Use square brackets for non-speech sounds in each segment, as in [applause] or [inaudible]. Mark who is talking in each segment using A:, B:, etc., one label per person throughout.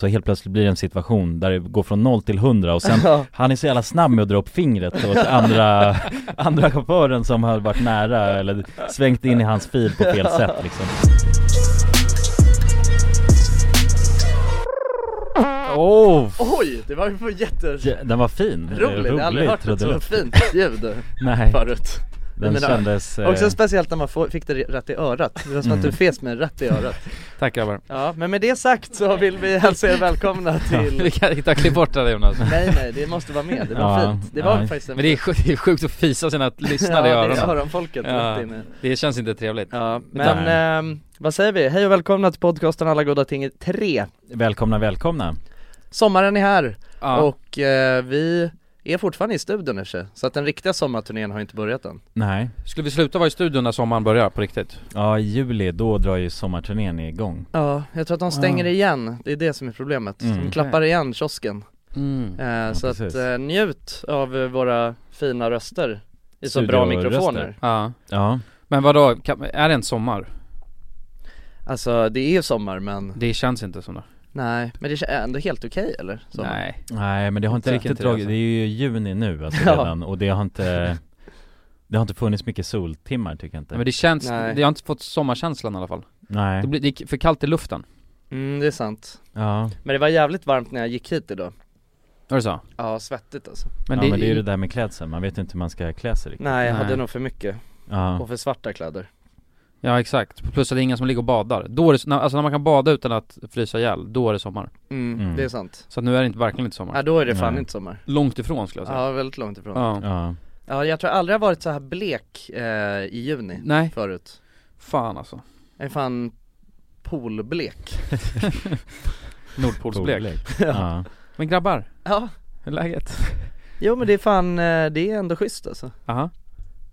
A: Så helt plötsligt blir det en situation där det går från 0 till 100 och
B: [laughs]
A: sen, han är så jävla snabb med att dra upp fingret åt andra, andra chauffören som har varit nära eller svängt in i hans fil på fel sätt liksom Oh,
B: Oj, det var ju för jätteroligt,
A: Ja, Den var fin,
B: jag har aldrig hört ett så
A: trudelutt.
B: fint ljud
A: Nej,
B: förut
A: den
B: menar-
A: kändes... eh,
B: Också speciellt när man får, fick det rätt i örat, det var som att du
C: Mm.
B: fes med rätt i örat
C: Tack grabbar.
B: Ja, men med det sagt så vill vi hälsa er välkomna
C: Vi
B: till
C: kan inte klippa bort det där Jonas.
B: Nej nej, det måste vara med, det var
A: Ja,
B: fint Det var
A: nej.
B: faktiskt en
C: Men det är, sjukt, det är sjukt att fisa sina lyssnare i
B: Ja, det är
C: öronen.
B: öronfolket
C: Ja.
B: rätt in i
C: Det känns inte trevligt.
B: Ja, men ehm, vad säger vi? Hej och välkomna till podcasten Alla goda ting 3
A: Välkomna, välkomna!
B: Sommaren är här
C: Ja.
B: och eh, vi är fortfarande i studion i och för sig, så att den riktiga sommarturnén har inte börjat än
A: Nej,
C: Skulle vi sluta vara i studion när sommaren börjar på riktigt?
A: ja i juli då drar ju sommarturnén igång
B: Ja, jag tror att de stänger
A: Ah.
B: igen, det är det som är problemet.
A: Mm.
B: De klappar igen kiosken.
C: Mm.
B: Eh, så att
A: precis.
B: eh, njut av eh, våra fina röster i så bra
A: Studioröster.
B: mikrofoner.
C: Ja.
A: Ja,
C: Men vadå, kan, är det en sommar?
B: Alltså det är ju sommar men,
C: Det känns inte som det.
B: nej, men det är ändå helt okej eller? Så.
C: Nej.
A: nej men det har inte
C: Jag tycker
A: riktigt
C: inte det,
A: dragit,
C: alltså.
A: det är ju juni nu alltså
B: Ja.
A: redan och det har inte Det har inte funnits mycket soltimmar tycker jag inte
C: Men det känns,
B: Nej.
C: det har inte fått sommarkänslan i alla fall.
A: Nej,
C: Det blir det är för kallt i luften.
B: Mm, det är sant.
A: ja
B: Men det var jävligt varmt när jag gick hit idag.
C: Är det så?
B: Ja, svettigt alltså.
A: ja, men det är ju det där med klädseln, man vet inte hur man ska klä sig riktigt
B: Nej, jag
C: Nej.
B: hade nog för mycket
A: Ja,
B: och för svarta kläder.
C: Ja exakt, plus att det är ingen som ligger och badar. Då är det, när- alltså när man kan bada utan att frysa ihjäl, då är det sommar.
B: Mm,
A: Mm.
B: det är sant.
C: Så att nu är det inte, verkligen inte sommar.
B: Ja, då är det fan
A: Nej.
B: inte sommar.
C: Långt ifrån skulle jag säga.
B: Ja, väldigt långt ifrån. Ja,
C: Ja.
A: ja,
B: jag tror aldrig jag varit så här blek eh, i juni
C: Nej,
B: förut.
C: fan alltså.
B: Jag är fan poolblek
C: Nordpolsblek.
A: Polblek. ja.
C: Men grabbar,
B: Ja,
C: hur är läget?
B: jo men det är fan, eh, det är ändå schysst alltså
C: Aha.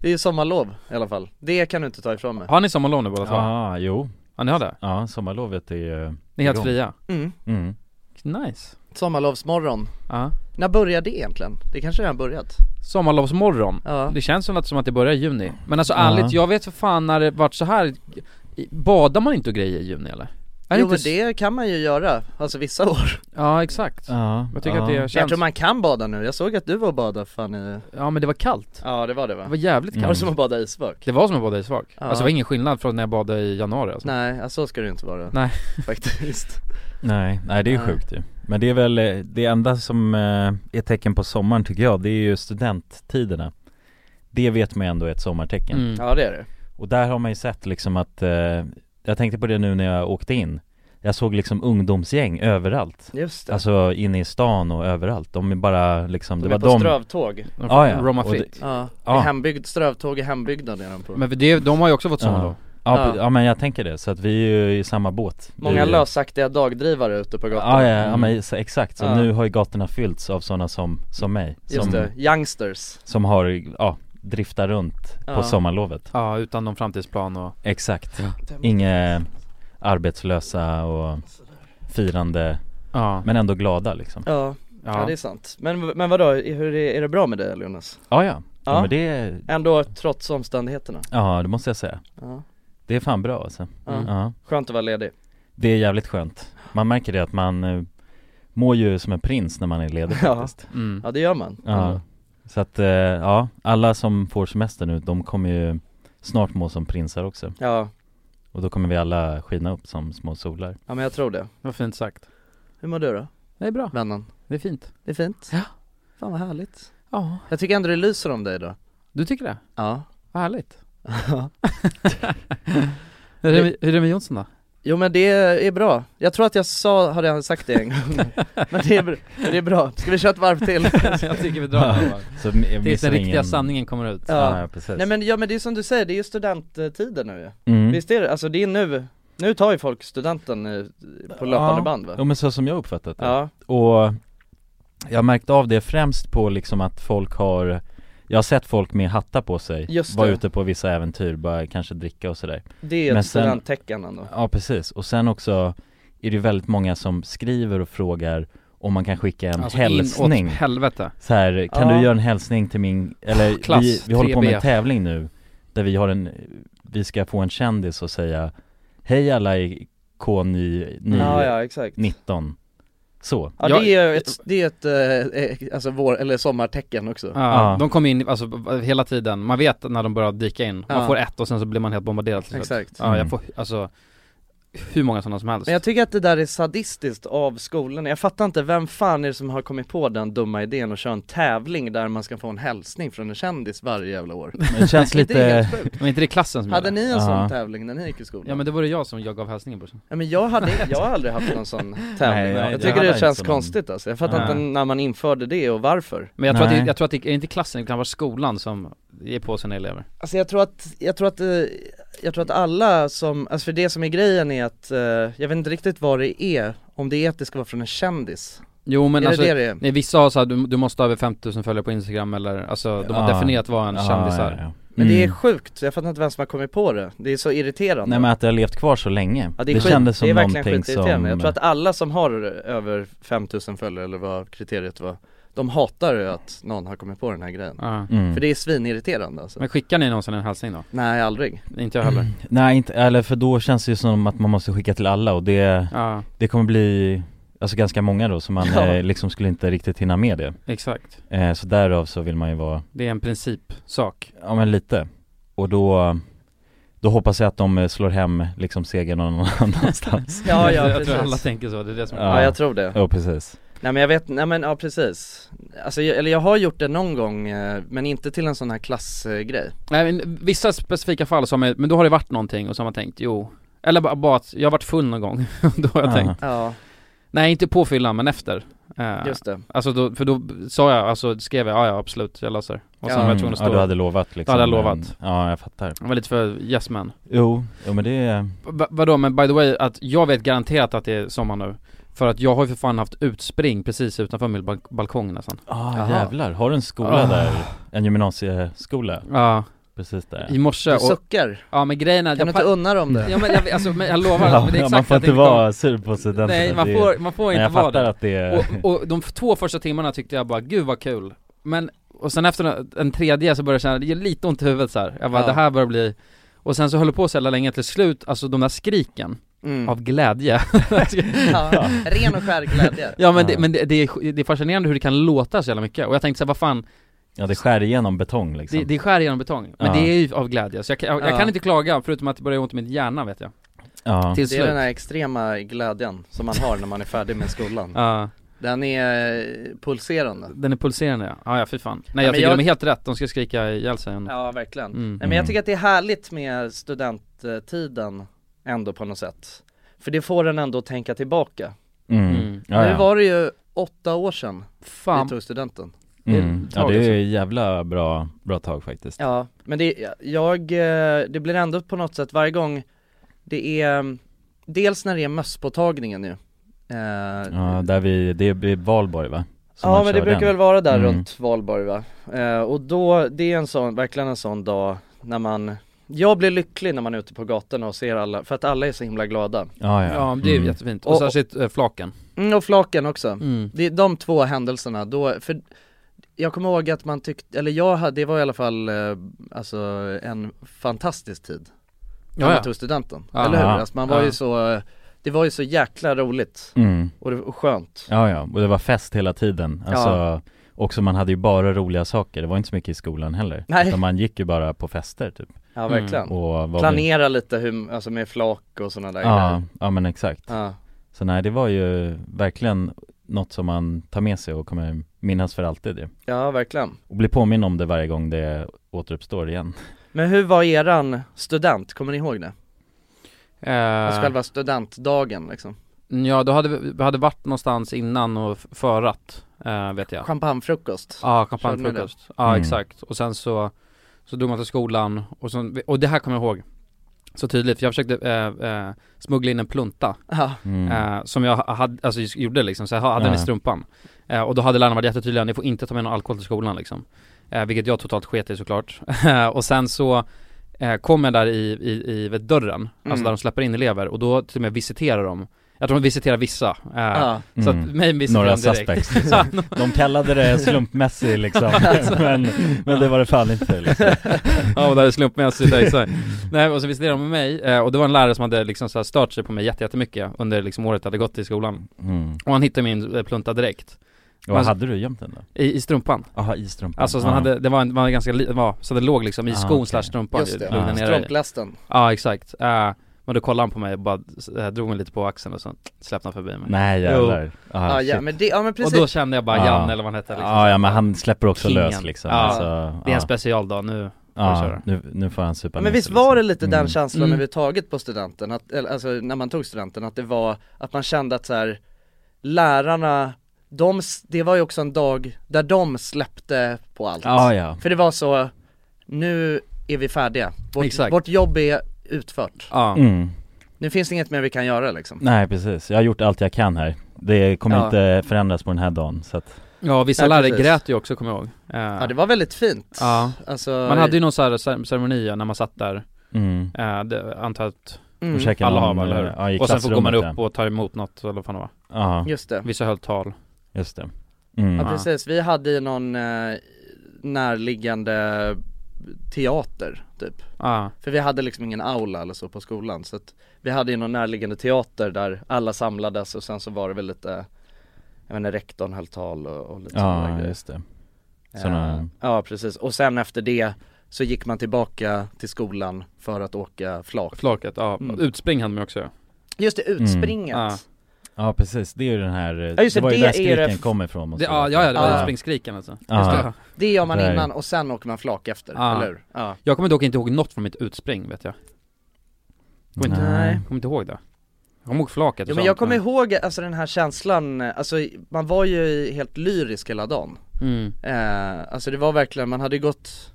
B: Det är ju sommarlov i alla fall, det kan du inte ta ifrån mig
C: Har ni sommarlov nu båda två?
A: ja, jo,
C: Ja ni har det?
A: ja sommarlovet är ju
C: Ni är helt
A: igång.
C: fria?
B: mm.
A: mm.
C: Nice
B: Sommarlovsmorgon,
C: Ja
B: när börjar det egentligen? Det kanske redan börjat?
C: Sommarlovsmorgon,
B: Ja,
C: det känns som att, som att det börjar i juni Men alltså
A: Ja.
C: ärligt, jag vet för fan när det vart så här i- Badar man inte och grejer i juni eller? Är
B: jo
C: inte
B: men
C: s-
B: det kan man ju göra, alltså vissa år
C: Ja exakt
A: Ja,
C: Jag tycker
A: ja.
C: att det
B: Jag
C: känns,
B: tror man kan bada nu, jag såg att du var och badade fan i...
C: ja men det var kallt
B: Ja det var det
C: Det
B: va?
C: var jävligt
A: Mm.
C: kallt
B: Var det som att bada isvak?
C: Det var som att bada i svag
B: Ja.
C: Alltså det var ingen skillnad från när jag badade i januari alltså.
B: Nej, ja, så ska det ju inte vara
C: Nej.
B: [laughs] Faktiskt
A: Nej, nej det är ju
B: Nej.
A: sjukt ju. Men det är väl, eh, det enda som eh, är tecken på sommaren tycker jag, det är ju studenttiderna Det vet man ju ändå är ett sommartecken
C: Mm.
B: Ja det är det
A: Och där har man ju sett liksom att, eh, jag tänkte på det nu när jag åkte in Jag såg liksom ungdomsgäng överallt
B: Just det
A: Alltså inne i stan och överallt, de är bara liksom,
B: De
A: det var
B: är på
A: de
B: strövtåg
A: Ah, Ja, ja.
C: Roma
A: Och det-
C: fritt
B: Ja,
A: Ja.
B: ja. hembygd, strövtåg i hembygden är de på
C: Men för det, de har ju också fått sommarlov
A: ja,
B: Ja.
A: pre- ja men jag tänker det, så att vi är ju i samma båt
B: Många
A: vi,
B: lösaktiga dagdrivare ute på gatan
A: Ah,
B: Mm.
A: Ja, ja, ja men så, exakt, så
B: Ja.
A: nu har ju gatorna fyllts av sådana som, som mig
B: Just
A: som,
B: det, youngsters
A: som har, ja, driftar runt
B: Ja.
A: på sommarlovet
C: Ja, utan någon framtidsplan och
A: Exakt, inga arbetslösa och firande,
C: Ja,
A: men ändå glada liksom
B: ja, ja.
C: ja.
B: det är sant Men, men vadå, hur är, är det bra med dig Jonas?
A: Ja ja, ja
B: Ja.
A: men det,
B: Ändå trots omständigheterna
A: ja det måste jag säga
B: Ja,
A: Det är fan bra alltså.
B: ja.
C: Mm.
A: Ja.
B: skönt att vara ledig
A: Det är jävligt skönt. Man märker det att man eh, mår ju som en prins när man är ledig
B: Ja.
A: faktiskt.
C: Mm.
B: Ja det gör man
A: Ja. Så att, eh, ja, alla som får semester nu, de kommer ju snart må som prinsar också.
B: Ja,
A: Och då kommer vi alla skina upp som små solar.
B: ja men jag tror det
C: Vad fint sagt
B: Hur mår du då,
C: Det är bra,
B: vännen?
C: det är fint
B: Det är fint?
C: Ja.
B: Fan vad härligt
C: Ja,
B: Jag tycker ändå det lyser om dig då
C: du tycker det?
B: Ja
C: Vad härligt Hur är det med- hur är det med Jonsson då?
B: [laughs] Jo men det är bra, jag tror att jag sa, har redan sagt det
A: [laughs]
B: en gång Men det är, br- det är bra, ska vi köra ett varv till?
C: [laughs] Jag tycker vi
A: drar
C: drar
A: den Så m- jag
C: Tills
A: missar
C: den riktiga
A: ingen...
C: sanningen kommer ut
A: Ja,
B: Ja.
A: precis.
B: Nej men, ja, men det är som du säger, det är ju studenttiden nu ju
A: mm.
B: Visst är det, alltså det är nu, nu tar ju folk studenten eh, på löpande band va?
A: Ja men så som jag uppfattat det.
B: Ja,
A: Och jag har märkt av det främst på liksom att folk har Jag har sett folk med hattar på sig,
B: Just
A: vara
B: det.
A: ute på vissa äventyr, bara kanske dricka och sådär
B: det är
A: Men
B: ett
A: sen-
B: studenttecken ändå
A: Ja precis, och sen också är det väldigt många som skriver och frågar om man kan skicka en hälsning
C: inåt Alltså, helvete
A: Så här, kan
B: Ja.
A: du göra en hälsning till min, eller
C: klass,
A: vi, vi håller på med en
C: 3B.
A: tävling nu Där vi har en, vi ska få en kändis och säga Hej alla i K9,
B: Ja ja exakt
A: 19 Så,
B: [laughs] Ja,
C: Jag-
B: det är ett, det är ett eh, eh, alltså vår, eller sommartecken också
C: Ja,
A: Ja.
C: De kom in alltså, hela tiden, man vet när de börjar dyka in, man
B: Ja.
C: får ett och sen så blir man helt bombarderad till slut.
B: Exakt
C: Ja, jag
A: Mm.
C: får alltså hur många sådana som helst.
B: Men jag tycker att det där är sadistiskt av skolorna, jag fattar inte vem fan är det som har kommit på den dumma idén att köra en tävling där man ska få en hälsning från en kändis varje jävla år
A: Men det känns
B: Det är
A: lite,
B: helt
A: [laughs]
B: sjukt.
C: Men inte det klassen som
B: Hade
C: gör det?
B: ni en sån
A: Ja.
B: tävling när ni gick i skolan?
C: Ja men det var det jag som jag gav hälsningen brorsan.
B: Ja, men jag, hade, [laughs] jag har aldrig haft någon sån tävling,
A: Nej, nej,
B: jag
A: det hade
B: tycker det,
A: jag
B: känns
A: inte någon.
B: konstigt alltså. jag fattar
C: Nej.
B: inte när man införde det och varför
C: Men jag tror, att det,
A: Nej.
C: jag tror att det är inte klassen, det kan vara skolan som ger på sina elever.
B: Alltså jag tror att, jag tror att, eh, jag tror att alla som, alltså för det som är grejen är att, eh, jag vet inte riktigt vad det är, om det är att det ska vara från en kändis,
C: Jo men
B: är
C: alltså,
B: det det det är?
A: Mm.
C: nej, vissa har såhär, du, du måste ha över 50 000 följare på instagram eller, alltså de har
A: Ja.
C: definierat vad en
A: Ja,
C: kändis
A: ja,
C: är.
A: ja.
B: Men det är
A: Mm.
B: sjukt, jag fattar inte vem som har kommit på det, det är så irriterande
A: Nej men att det har levt kvar så länge,
B: Ja,
A: det,
B: det, är skit,
A: kändes som
B: det är verkligen
A: någonting som
B: skitirriterande, jag tror att alla som har över 5000 följare eller vad kriteriet var, de hatar ju att någon har kommit på den här grejen
C: Ja.
A: mm.
B: För det är svinirriterande alltså
C: Men skickar ni någonsin en hälsning då?
B: Nej aldrig
C: Inte jag heller.
A: Nej inte, eller för då känns det ju som att man måste skicka till alla och det,
C: Ja,
A: det kommer bli, alltså ganska många då så man
B: Ja.
A: eh, liksom skulle inte riktigt hinna med det
C: exakt.
A: eh, Så därav så vill man ju vara,
C: Det är en principsak.
A: ja men lite Och då, då hoppas jag att de eh, slår hem liksom segern [laughs] någon annanstans
B: [laughs] Ja
C: jag,
B: ja
C: jag tror alla
B: precis
C: tänker så, det är det som
A: Ja.
B: Ja jag tror det
A: Ja precis
B: Nej men jag vet, nej men ja precis Alltså jag, eller jag har gjort det någon gång, eh, men inte till en sån här klassgrej
C: Nej men vissa specifika fall som är, men då har det varit någonting och så har man tänkt, jo Eller bara, bara att jag har varit full någon gång, [laughs] då har jag
A: Ja.
C: tänkt
B: Ja,
C: Nej inte på fyllan men efter Eh,
B: just det
C: Alltså då, för då sa jag, alltså skrev jag, ja ja absolut, jag löser Och sen
B: Ja.
C: var jag
A: Mm,
C: tvungen att
A: Ja
C: stå
A: du hade lovat liksom
C: Ja, jag hade
A: men-
C: lovat.
A: Ja jag fattar
C: Jag var lite för yes man
A: Jo, jo men det är,
C: Va- Vadå men by the way, att jag vet garanterat att det är sommar nu För att jag har ju för fan haft utspring precis utanför min balk- balkong nästan
A: ah
B: Jaha.
A: jävlar, har du en skola
C: Ah.
A: där? En gymnasieskola?
C: Ja,
A: Precis
C: i
A: där
C: morse
B: Du
C: och,
B: suckar,
C: ja men grejen är
B: kan du inte unna dem det?
C: Ja men jag, alltså, men jag lovar,
A: Ja,
C: men det är
A: ja, [laughs]
C: exakt
A: man får
C: att det
A: inte
C: kommer-
A: vara sur på studenten
C: Nej man
A: det är-
C: får, man får
A: Men
C: inte
A: jag
C: vara det
A: fattar att det är,
C: och, och de f- två första timmarna tyckte jag bara, gud vad kul Men, och sen efter en tredje så började jag känna, det gör lite ont i huvudet så här. Jag bara,
B: Ja.
C: det här börjar bli och sen så höll det på så jävla länge till slut, alltså de där skriken
B: Mm.
C: av glädje
B: [laughs] Ja, ren och skär glädje
C: Ja men,
A: Ja.
C: det, men det, det, är, det är fascinerande hur det kan låta så jävla mycket, och jag tänkte såhär, vad fan,
A: ja det skär igenom betong liksom
C: det, det skär genom betong, men
A: Ja.
C: det är ju av glädje, så jag, kan- jag, jag
B: Ja.
C: kan inte klaga, förutom att det börjar göra ont i min hjärna vet jag,
A: Ja,
C: till
B: Det är
C: slut
B: den här extrema glädjen som man har när man är färdig med skolan
C: Ja,
B: Den är eh, pulserande
C: den är pulserande ja, ja, ja fy fan. Nej
B: men
C: jag tycker
B: jag-
C: de är helt rätt, de ska skrika ihjäl sig en-
B: Ja verkligen
C: Mm.
B: Nej men jag
A: Mm.
B: tycker att det är härligt med studenttiden ändå på något sätt För det får en ändå tänka tillbaka
A: mm.
C: Mm.
A: Ja,
B: Nu
A: ja.
B: var det ju åtta år sedan
C: Fan,
B: vi tog studenten
A: Mm.
C: det är
A: ja det
C: taget,
A: är jävla bra, bra tag faktiskt
B: Ja, men det, jag, eh, det blir ändå på något sätt varje gång det är, eh, dels när det är mösspåtagningen nu eh,
A: Ja, där vi, det är i Valborg va? Som
B: Ja
A: man
B: men det
A: kör
B: brukar
A: den.
B: väl vara där
A: Mm.
B: runt valborg va? Eh, och då, det är en sån, verkligen en sån dag när man Jag blir lycklig när man är ute på gatorna och ser alla, för att alla är så himla glada
A: Ja, ja.
C: Ja, det är ju
A: Mm.
C: jättefint. Och,
B: Och-
C: särskilt eh, flaken.
B: mm, Och flaken också
C: Mm.
B: Det är de två händelserna då, för jag kommer ihåg att man tyckte, eller jag hade, det var i alla fall eh, alltså en fantastisk tid när
C: Ja,
B: man
C: ja.
B: tog studenten,
C: Ja.
B: eller hur?
A: Ja.
B: Alltså man var
C: Ja.
B: ju så, det var ju så jäkla roligt
A: Mm.
B: och, det, och skönt
A: Ja, ja, och det var fest hela tiden, alltså Också man hade ju bara roliga saker, det var inte så mycket i skolan heller
B: Nej.
A: Utan man gick ju bara på fester typ
B: Ja
C: Mm.
B: verkligen
A: och var
B: Planera lite hur, alltså med flak och sådana där
A: Ja,
B: grejer.
A: ja men exakt
B: ja.
A: Så nej det var ju verkligen något som man tar med sig och kommer minnas för alltid ju.
B: ja verkligen
A: Och blir påminn om det varje gång det återuppstår igen
B: Men hur var eran student, kommer ni ihåg det? Alltså
C: Eh,
B: själva studentdagen liksom?
C: ja, då hade vi, vi hade varit någonstans innan och f- förrätt, eh, vet jag. Ja,
B: Champagnefrukost?
C: kampanjfrukost. Ja,
A: Mm.
C: exakt. Och sen så, så drog man till skolan och, så, och det här kommer jag ihåg så tydligt, för jag försökte eh, eh, smuggla in en plunta,
B: Ja,
A: mm.
C: eh, som jag hade, alltså just gjorde liksom, så jag hade den i
A: Ja.
C: strumpan. Eh, och då hade lärarna varit jättetydliga, ni får inte ta med någon alkohol till skolan liksom. Eh, vilket jag totalt sket i såklart. [laughs] och sen så eh, kom jag där i, i, i vid dörren, alltså
B: Mm.
C: där de släpper in elever och då till och med visiterar de jag tror vi citerar vissa, eh,
B: Ja.
C: så
A: Mm.
C: att mig missade
A: Några
C: han direkt
A: suspects liksom.
C: [laughs]
A: De kallade
B: [laughs]
A: det slumpmässig liksom,
B: Alltså.
A: [laughs] men, men det var det fan inte liksom.
C: Alltså. Ja, och där är slumpmässigt, exakt. Nej, och så visste de med mig, eh, och det var en lärare som hade liksom så här stört sig på mig jätte- jättemycket under liksom året jag hade gått i skolan.
A: mm.
C: Och han hittade min eh, plunta direkt,
A: Och vad hade du gömt den då?
C: i, i strumpan.
A: Jaha, i strumpan
C: Alltså så man
A: Ja.
C: hade, det var, en, var en ganska, li, var, så det låg liksom i
A: Ah,
C: skon
A: okej. Ah,
C: slash strumpan
B: Just det,
C: låg den
A: ja.
C: nere i.
B: strumplästen
C: Ja, exakt. Eh, men då kollade han på mig och bara eh, drog mig lite på axeln och så släppte han förbi mig.
A: Nej jävlar
B: Ja
A: ah,
B: ja
A: shit.
B: men det, ja men
C: och
B: precis
C: då kände jag bara
A: Ja.
C: Janne eller vad han hette liksom.
A: Ah, Ja, ja men han släpper också
C: Kingen.
A: lös liksom
C: Ja.
A: alltså,
C: Det är
A: ja.
C: en specialdag
A: Mm.
C: nu.
A: Ja,
C: Får du köra?
A: nu, nu får han supa
B: Ja,
A: ner
B: men visst
A: sig,
B: var det
A: liksom.
B: lite den
A: Mm.
B: känslan
C: Mm.
B: överhuvudtaget på studenten, att, eller, alltså när man tog studenten, att det var, att man kände att så här, lärarna, de, s- det var ju också en dag där de släppte på allt.
A: Ja, ja
B: För det var så, nu är vi färdiga, vårt,
C: Exakt.
B: vårt jobb är utfört.
C: Ja.
A: mm.
B: Nu finns det inget mer vi kan göra liksom.
A: Nej precis, jag har gjort allt jag kan här Det kommer
B: Ja.
A: inte förändras på den här dagen så att,
C: ja, vissa
B: Ja,
C: lärare
B: precis.
C: grät ju också kommer jag ihåg. Eh,
B: Ja det var väldigt fint.
C: ja.
B: Alltså,
C: Man hade ju någon sån här cer- ceremoni ja, när man satt där,
A: mm.
C: eh, det, antar att
B: mm,
A: Och käka
C: alla har
A: någon,
C: väl, eller hur?
A: eh, ja, i
C: Och sen får går man upp
A: klassrummet,
C: och tar emot något eller vad fan det var
A: Ja,
B: Just det.
C: Vissa höll tal
A: just det mm.
B: Ja
C: Ja.
B: precis, vi hade ju någon eh, närliggande teater typ.
C: Ja,
B: För vi hade liksom ingen aula eller så på skolan så att vi hade ju någon närliggande teater där alla samlades och sen så var det väl lite Jag menar rektorn höll tal och, och lite sådana
A: Ja,
B: grejer
A: just det såna-
B: Eh, Ja precis, och sen efter det så gick man tillbaka till skolan för att åka flak
C: flaket, ja,
B: Mm.
C: utspring hade man också göra.
B: Just det, utspringet!
C: Mm. Ja.
A: Ja precis, det är ju den här, eh,
B: Ja, just
A: det
B: det,
A: var ju
B: det
A: där
B: är
A: skriken
B: det-
A: kommer ifrån måste
C: det, ah,
A: jag
C: Ja,
A: säga.
C: ja, det var
B: Ja.
C: utspringskriken alltså Just
A: Ja.
C: det.
B: Det gör man
A: Där.
B: innan och sen åker man flak efter,
C: Ja.
B: eller hur? Ja.
C: Jag kommer dock inte ihåg något från mitt utspring vet jag, Går inte-
A: Nej.
C: kommer inte ihåg det Jag kommer ihåg flaket och
B: Jo men
C: sånt,
B: jag kommer ihåg alltså den här känslan, alltså man var ju helt lyrisk hela dagen
C: mm.
B: Eh, alltså det var verkligen, man hade gått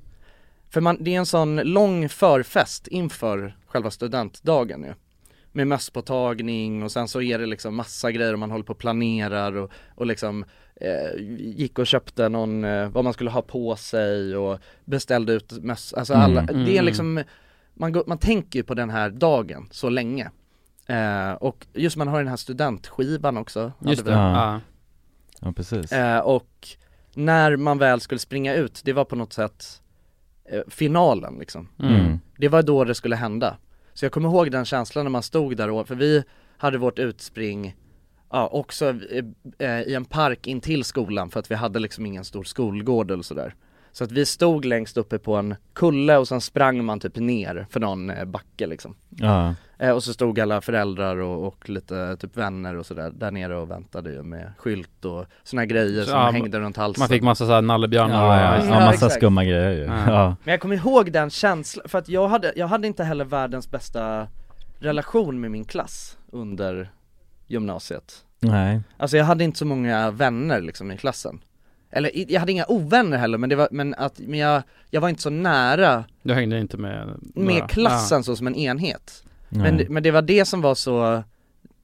B: För man, det är en sån lång förfest inför själva studentdagen ju Med mösspåtagning och sen så är det liksom massa grejer och man håller på och planerar och, och liksom eh, Gick och köpte någon, eh, vad man skulle ha på sig och beställde ut möss, alltså alla,
A: Mm.
B: det är
C: Mm.
B: liksom man, går, man tänker ju på den här dagen så länge eh, Och just man har den här studentskivan också hade
C: Just
B: vi.
C: det, ja,
A: Ja. Ja precis
B: Eh, och när man väl skulle springa ut, det var på något sätt eh, finalen liksom.
C: Mm.
A: Mm.
B: Det var då det skulle hända. Så jag kommer ihåg den känslan när man stod där och, för vi hade vårt utspring Ja, också eh, eh, i en park intill skolan för att vi hade liksom ingen stor skolgård eller sådär. Så att vi stod längst uppe på en kulle och sen sprang man typ ner för någon eh, backe liksom.
A: Ja,
B: Eh, och så stod alla föräldrar och, och lite typ vänner och sådär där nere och väntade ju med skylt och såna här grejer
C: Så,
B: som
C: ja,
B: hängde runt halsen.
C: Man fick massa såhär
A: ja,
C: nallebjörnar och-
A: ja,
B: just det.
A: ja,
B: Ja,
A: massa
B: exakt.
A: skumma grejer ju
C: Ja.
A: ja.
B: Men jag kommer ihåg den känslan, för att jag hade, jag hade inte heller världens bästa relation med min klass under gymnasiet.
A: Nej,
B: Alltså jag hade inte så många vänner liksom i klassen. Eller i- jag hade inga ovänner heller men det var, men att, men jag, jag var inte så nära
C: Du hängde inte med några.
B: med klassen så som en enhet.
A: nej.
B: Men, det- men det var det som var så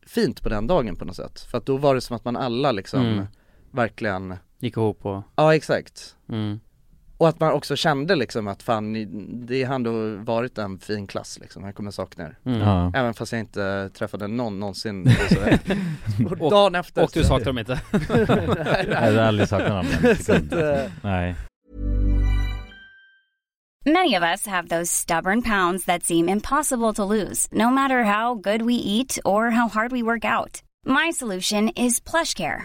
B: fint på den dagen på något sätt. För att då var det som att man alla liksom
C: Mm.
B: verkligen,
C: Ja. Gick ihop och,
B: ja exakt.
C: mm.
B: Och att man också kände liksom att fan, ni- det har ändå varit en fin klass liksom, jag kommer sakna er.
C: Mm.
A: ja.
B: Även fast jag inte träffade någon [laughs] någonsin och så- och dagen efter
C: Och du saknade
A: [laughs]
C: dem inte?
B: nej,
A: Jag hade
B: nej.
A: aldrig saknat honom en
B: Så att,
A: sekund.
B: eh,
A: [laughs] Nej,
D: Many of us have those stubborn pounds that seem impossible to lose, no matter how good we eat or how hard we work out. My solution is PlushCare.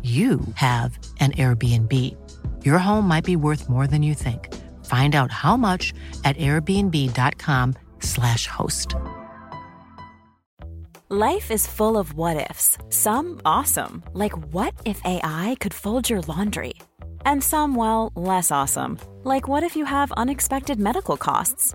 E: you have an Airbnb. Your home might be worth more than you think. Find out how much at airbnb.com/slash host.
F: Life is full of what ifs. Some awesome, like what if AI could fold your laundry? And some, well, less awesome, like what if you have unexpected medical costs?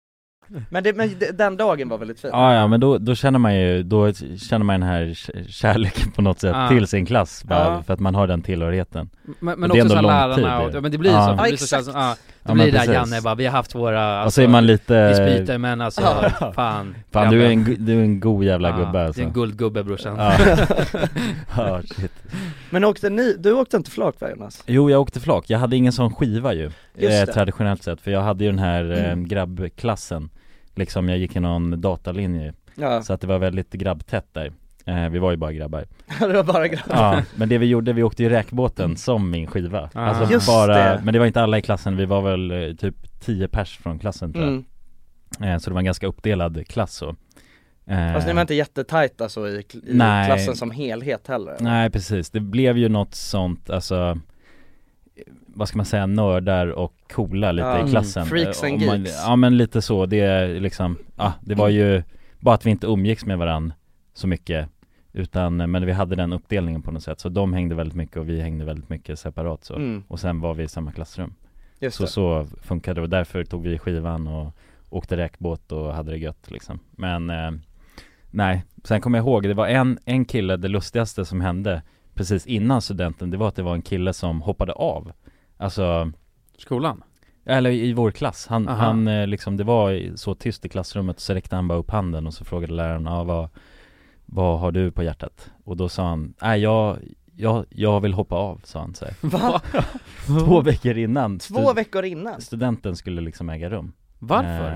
B: Men, det, men det- den dagen var väldigt fin.
A: Ja, ja men då, då känner man ju, då känner man den här k- kärleken på något sätt
C: Ja.
A: till sin klass bara,
C: Ja.
A: för att man har den tillhörigheten
C: Men,
A: Det är
C: men också
A: ändå
C: såhär
A: lång
C: lärarna
A: tid,
C: och,
A: det.
C: ja men det blir
A: Ja.
C: så, det
B: Ja,
C: blir så,
B: exakt.
C: så ja, det
A: men
C: blir det
A: precis.
C: där Janne bara, vi har haft våra,
A: Och så är man
C: Alltså, vi
A: lite,
C: spyter men alltså,
A: Ja.
C: fan
A: fan du är, en,
C: grabben.
A: gu- du är en god jävla
C: Ja,
A: gubbe alltså.
C: Det är en guldgubbe brorsan
A: Ja.
B: [laughs]
A: ja, [laughs] shit.
B: Men åkte ni, du åkte inte flak va Jonas?
A: Jo jag åkte flak, jag hade ingen sån skiva ju
B: Just
A: eh,
B: det. Mm.
A: Traditionellt sett, för jag hade ju den här eh, grabbklassen Liksom jag gick i någon datalinje
B: Ja,
A: Så att det var väldigt grabbtätt där eh, Vi var ju bara grabbar
B: [laughs] det var bara grabbar.
A: Ja, men det vi gjorde, vi åkte ju räkbåten som min skiva
C: Ah.
A: Alltså
B: Just
A: bara,
B: det.
A: men det var inte alla i klassen, vi var väl eh, typ 10 pers från klassen tror jag
B: Mm.
A: eh, Så det var en ganska uppdelad klass så eh,
B: Fast ni var inte jättetajta så i, kl- i
A: Nej.
B: klassen som helhet heller? eller?
A: Nej precis, det blev ju något sånt, alltså eh, vad ska man säga, nördar och coola lite
B: Ja.
A: i
B: Mm.
A: klassen
B: Freaks
A: Eh,
B: and
A: om man,
B: geeks.
A: Ja men lite så, det är liksom, ja det var ju bara att vi inte umgicks med varann så mycket utan, eh, men vi hade den uppdelningen på något sätt, så de hängde väldigt mycket och vi hängde väldigt mycket separat så
B: Mm,
A: Och sen var vi i samma klassrum
B: just
A: Så
B: det.
A: så funkade det och därför tog vi skivan och åkte räkbåt och hade det gött liksom Men eh, nej, sen kommer jag ihåg, det var en, en kille, det lustigaste som hände precis innan studenten, det var att det var en kille som hoppade av Alltså,
C: Skolan?
A: eller i vår klass, han,
C: Aha.
A: han eh, liksom, det var i- så tyst i klassrummet så räckte han bara upp handen och så frågade läraren, ah, vad, vad har du på hjärtat? Och då sa han, nej jag, jag, jag vill hoppa av, sa han
B: [laughs]
A: så här.
B: Va?
A: Två veckor innan
B: Två veckor innan?
A: studenten skulle liksom äga rum
C: Varför?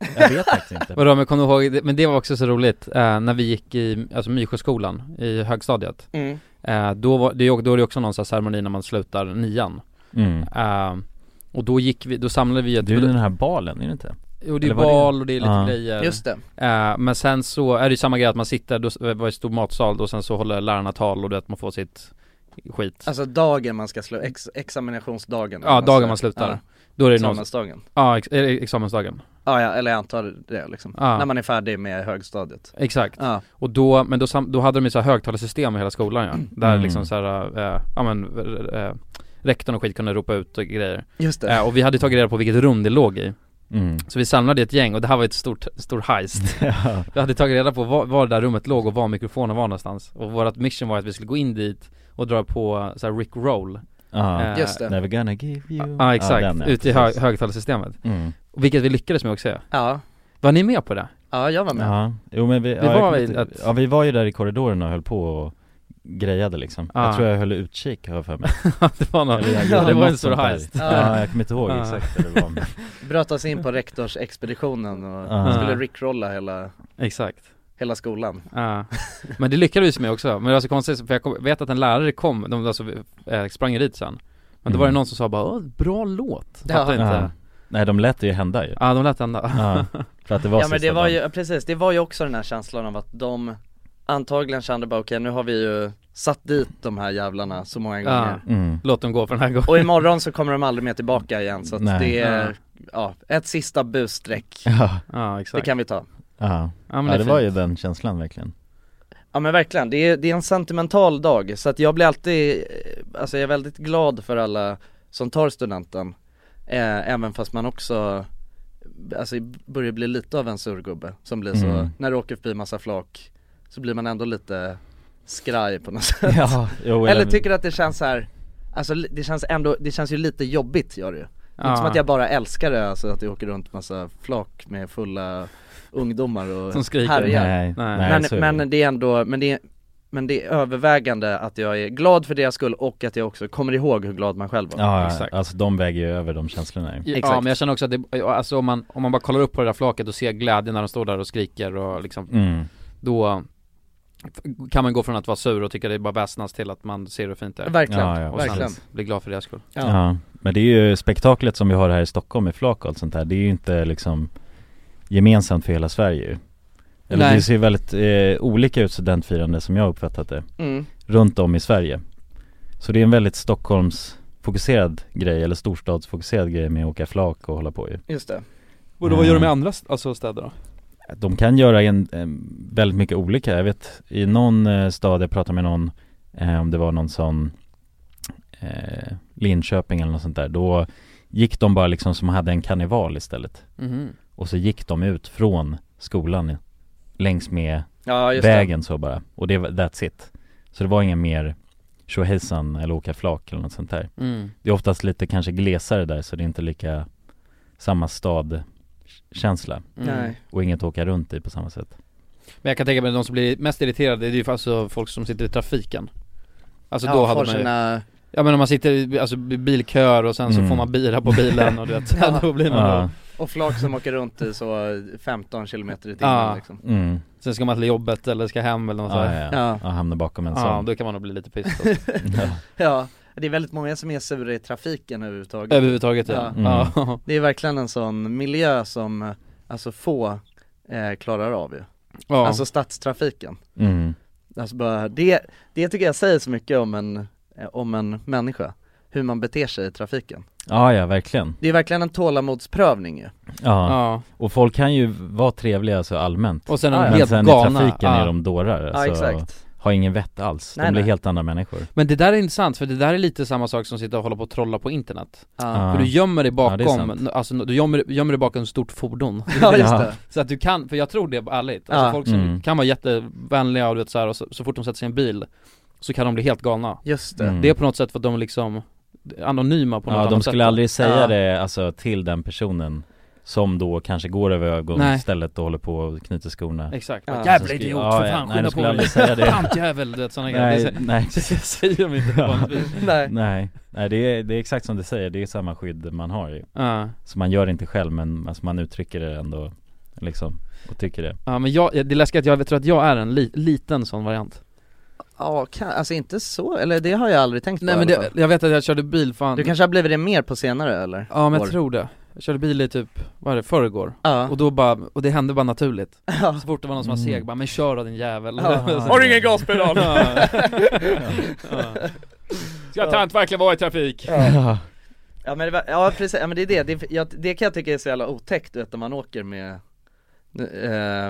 A: Eh, Jag vet faktiskt inte
C: [laughs] Vadå men kom du ihåg, det- men det var också så roligt, eh, när vi gick i, alltså Mysjöskolan i högstadiet
B: Mm.
C: eh, Då var det, då är det också någon sån här ceremoni när man slutar nian
A: mm.
C: eh, Och då gick vi, då samlade vi ett,
A: Du är den här balen, är det inte?
C: och det är
A: eller var det-
C: val och det är lite
A: Ja.
C: grejer
B: Just det,
C: Eh, men sen så är det ju samma grej att man sitter, då var det en stor matsal och sen så håller lärarna tal och du vet man får sitt skit
B: alltså dagen man ska slå, ex, examinationsdagen
C: Ja, dagen man slutar
B: ja,
C: Då är det någon,
B: Examensdagen
C: ja ex, eh, examensdagen,
B: ja, ja, eller jag antar det liksom,
C: Ja.
B: när man är färdig med högstadiet
C: exakt
B: Ja,
C: Och då, men då, sam- då hade de ju så här högtalarsystem i hela skolan ja, där
A: Mm.
C: liksom så här, eh, ja men eh, rektorn och skit kunde ropa ut och grejer
B: just det
C: eh, Och vi hade tagit reda på vilket rum det låg i
A: Mm.
C: Så vi samlade ett gäng och det här var ett stort, stor heist
A: Ja.
C: Vi hade tagit reda på var, var det där rummet låg och var mikrofonen var någonstans Och vårt mission var att vi skulle gå in dit och dra på så här Rick Roll
A: Ja.
C: eh,
B: Just det.
A: Never gonna give you
C: Ja exakt,
A: den, ja,
C: ute i hö-
A: precis.
C: högtalarsystemet
A: mm.
C: Vilket vi lyckades med också
B: Ja,
C: Var ni med på det?
B: ja jag var med
A: Ja, jo men vi,
C: Vi
A: ja, jag
C: var
A: kommer
C: i
A: inte-
C: ett-
A: ja, vi var ju där i korridoren och höll på och grejade liksom
C: Ja.
A: Jag tror jag höll utkik har jag för mig
C: det var någon,
A: Eller jag
C: ja,
A: gjorde
C: det var
A: något
C: en stor
A: sånt där.
C: heist
A: Ja. jag kommer inte ihåg
C: Ja.
A: exakt vad det var
C: [laughs]
A: men,
B: Bröt oss in på rektorsexpeditionen och
A: Ja.
B: skulle rickrolla hela,
C: Exakt
B: hela skolan
C: Ja. Men det lyckades vi med också, men det var så konstigt för jag kom, vet att en lärare kom, de alltså, eh, sprang ju dit sen Men då var det
A: Mm.
C: någon som sa bara "Åh, bra låt,
B: Ja.
C: fattar
A: ja.
C: inte
A: Nej de lät det ju hända ju
C: Ja de lät ända
A: ja. För att det var
B: Ja men
A: sista
B: det var
A: dagen.
B: ju, ja, precis, det var ju också den här känslan av att de antagligen kände bara okej nu har vi ju satt dit de här jävlarna så många gånger
A: mm.
C: Låt dem gå för den här gången
B: Och imorgon så kommer de aldrig mer tillbaka igen så att
A: Nej.
B: det är, ja, ett sista busstreck
A: ja.
C: Ja
B: Det
C: exakt
B: kan vi ta
A: ja,
C: Ja men
A: ja, det var ju
C: fint.
A: den känslan
C: [laughs]
A: verkligen
B: Ja men verkligen, det är, det är en sentimental dag så att jag blir alltid, eh, alltså jag är väldigt glad för alla som tar studenten eh, Även fast man också, alltså börjar bli lite av en surgubbe som blir så,
A: Mm.
B: när du åker förbi massa flak så blir man ändå lite skraj på något sätt
A: [laughs] Ja, jo,
B: Eller tycker du att det känns så här, alltså li- det känns ändå, det känns ju lite jobbigt gör det ju Det är
C: Ja.
B: inte som att jag bara älskar det, alltså att jag åker runt massa flak med fulla ungdomar och
C: Som skriker.
B: härjar.
A: Nej,
C: Nej.
A: nej,
B: Men,
A: så är det.
B: men det är ändå, men det är, men det är övervägande att jag är glad för deras skull och att jag också kommer ihåg hur glad man själv var
A: Ja,
C: Exakt.
A: Exakt. alltså de väger ju över de känslorna ju.
C: Ja
B: Exakt.
C: men jag känner också att det, alltså om man, om man bara kollar upp på det där flaket och ser glädjen när de står där och skriker och liksom
A: Mm.
C: Då kan man gå från att vara sur och tycka det är bara väsnas till att man ser hur fint det är
B: Verkligen,
A: Ja, ja,
C: Och sen
B: verkligen
C: bli glad för deras skull
A: Ja.
B: ja.
A: Men det är ju spektaklet som vi har här i Stockholm med flak och allt sånt här, det är ju inte liksom gemensamt för hela Sverige ju. Eller
C: Nej.
A: det ser ju väldigt eh, olika ut studentfirande som jag har uppfattat det,
B: Mm.
A: runt om i Sverige. Så det är en väldigt Stockholmsfokuserad grej, eller storstadsfokuserad grej med att åka flak och hålla på ju.
B: Just det,
A: Och då, vad gör de i
C: andra alltså, städer då?
A: De kan göra en, en, väldigt mycket olika. Jag vet i någon eh, stad, jag pratade med någon, eh, om det var någon sån eh, Linköping eller något sånt där, då gick de bara liksom som hade en karneval istället.
C: Mm-hmm.
A: Och så gick de ut från skolan längs med
B: ja just
A: vägen så bara. Och det var, that's it. Så det var ingen mer tjohejsan eller åka flak eller något sånt där.
C: Mm.
A: Det är oftast lite kanske glesare där så det är inte lika samma stadkänsla
B: det,
C: Mm.
B: nej
A: och inget att åka runt i på samma sätt.
C: Men jag kan tänka mig att de som blir mest irriterade det är ju alltså folk som sitter i trafiken Alltså
B: ja,
C: då hade
B: får
C: man ju,
B: sina,
C: ja men om man sitter i alltså, i bilköer och sen så
A: Mm.
C: får man bira på bilen och du
A: [laughs]
C: vet, ja. då blir man
A: Ja,
B: och flak som åker runt i så 15 km i timmen
C: Ja.
B: liksom
A: mm.
C: Sen ska man till jobbet eller ska hem eller något
A: Ja,
C: sånt
A: ja, ja.
B: Ja,
A: ja hamnar bakom en
C: Ja,
A: sån
C: då kan man nog bli lite pissed
A: [laughs]
C: också.
A: ja.
B: ja, det är väldigt många som är sura i trafiken överhuvudtaget
C: Överhuvudtaget
B: Ja.
C: ja,
A: Mm.
C: ja.
B: Det är verkligen en sån miljö som eh, alltså få eh, klarar av ju.
C: ja.
B: Alltså stadstrafiken.
A: mm.
B: Alltså bara, det, det tycker jag säger så mycket om en, eh, om en människa. Hur man beter sig i trafiken.
A: ja, ja verkligen
B: Det är verkligen en tålamodsprövning ju.
A: ja.
C: ja.
A: och folk kan ju vara trevliga alltså allmänt
C: Och sen är
B: Ja, ja.
C: de
A: Men
C: helt
A: sen i
C: galna
A: trafiken
C: Ja.
A: är de dårar
B: ja
A: alltså,
B: exakt.
A: har ingen vett alls, de
B: Nej,
A: blir
B: nej.
A: helt andra människor
C: Men det där är intressant för det där är lite samma sak som att sitta och hålla på och trolla på internet
B: Ja,
C: För du gömmer dig
A: Ja, det är
C: bakom,
A: sant.
C: alltså du gömmer, gömmer dig bakom ett stort fordon
B: [laughs] ja just det.
C: Så att du kan, för jag tror det ärligt, alltså
B: Ja.
C: folk som
A: Mm.
C: kan vara jättevänliga och du vet så här, och så, så fort de sätter sig i en bil Så kan de bli helt galna
B: Just det.
A: Mm.
C: Det är på något sätt för att de är liksom anonyma på något
A: ja,
C: annat
A: de
C: sätt
A: skulle aldrig säga
B: Ja.
A: det alltså, till den personen som då kanske går över
C: Nej.
A: ögonstället och håller på och knyter skorna
C: Exakt,
B: Ja.
C: jävla
A: Så skulle-
C: idiot
A: ja,
C: för
A: ja,
C: fan,
A: nej,
C: skynda
A: de
C: på
A: skulle
C: mig
A: aldrig säga det.
C: Pantjävel, du vet sådana grejer
A: Nej,
C: Det sä-
A: nej,
C: [laughs] Det säger de
A: [laughs]
C: inte vanligtvis
B: [laughs] Nej.
A: nej, nej det, är, det är exakt som du säger, det är samma skydd man har ju
C: Ja,
A: Så man gör det inte själv men alltså, man uttrycker det ändå liksom och tycker det
C: Ja men jag, det är läskigt att jag tror att jag är en li, liten sån variant
B: Ja, kan, alltså inte så, eller det har jag aldrig tänkt
C: Nej
B: på
C: men
B: i alla
C: det,
B: fall.
C: jag vet att jag körde bil fan
B: Du kanske har blivit det mer på senare eller?
C: Ja men
B: år?
C: jag tror det Jag körde bil i typ, vad är det, förrgår?
B: Ja.
C: Och då bara, och det hände bara naturligt
B: [laughs] Ja.
C: Så fort det var någon som var
A: Mm.
C: seg bara 'Men kör då din jävel' [laughs]
B: Ja.
A: Har du
B: ingen
C: gaspedal? Ska tant verkligen vara i trafik?
A: Ja,
B: Ja men, det var, ja, precis, ja men det är det, det, jag, det kan jag tycka är så jävla otäckt du vet när man åker med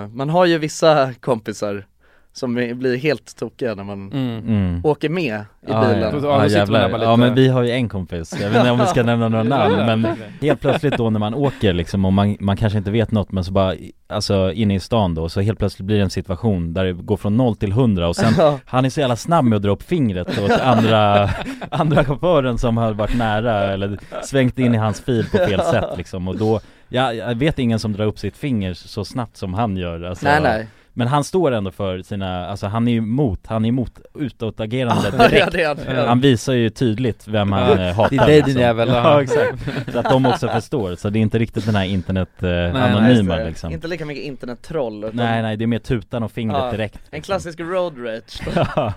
B: eh, Man har ju vissa kompisar som blir helt tokiga när man
C: Mm.
A: mm.
B: åker med i bilen
C: Ah, ja.
A: Ja,
C: då sitter man
A: jävlar.
C: där bara lite-
A: ja men vi har ju en kompis, jag vet inte om vi ska nämna
C: [laughs]
A: några namn men
C: Mm.
A: Helt plötsligt då när man åker liksom och man, man kanske inte vet något men så bara, alltså inne i stan då, så helt plötsligt blir det en situation där det går från noll till hundra och sen
B: Ja.
A: Han är så jävla snabb med att dra upp fingret åt
B: [laughs]
A: andra, andra chauffören som har varit nära eller svängt in i hans fil på fel sätt liksom och då jag, jag vet ingen som drar upp sitt finger så snabbt som han gör alltså,
B: Nej nej,
A: Men han står ändå för sina, alltså han är ju emot, han är emot utåtagerande
B: [laughs] [laughs] ja
A: direkt
B: det är det.
A: Han visar ju tydligt vem han
C: Ja.
A: eh, hatar
C: Det är dig din
A: liksom.
C: jävel
A: Ja exakt, så att de också förstår, så det är inte riktigt den här internet eh, anonyma
B: Nej,
A: liksom
B: Inte lika mycket internettroll utan
A: Nej nej, det är mer tutan och fingret
B: Ja.
A: direkt [laughs]
B: En klassisk road rage
A: ja,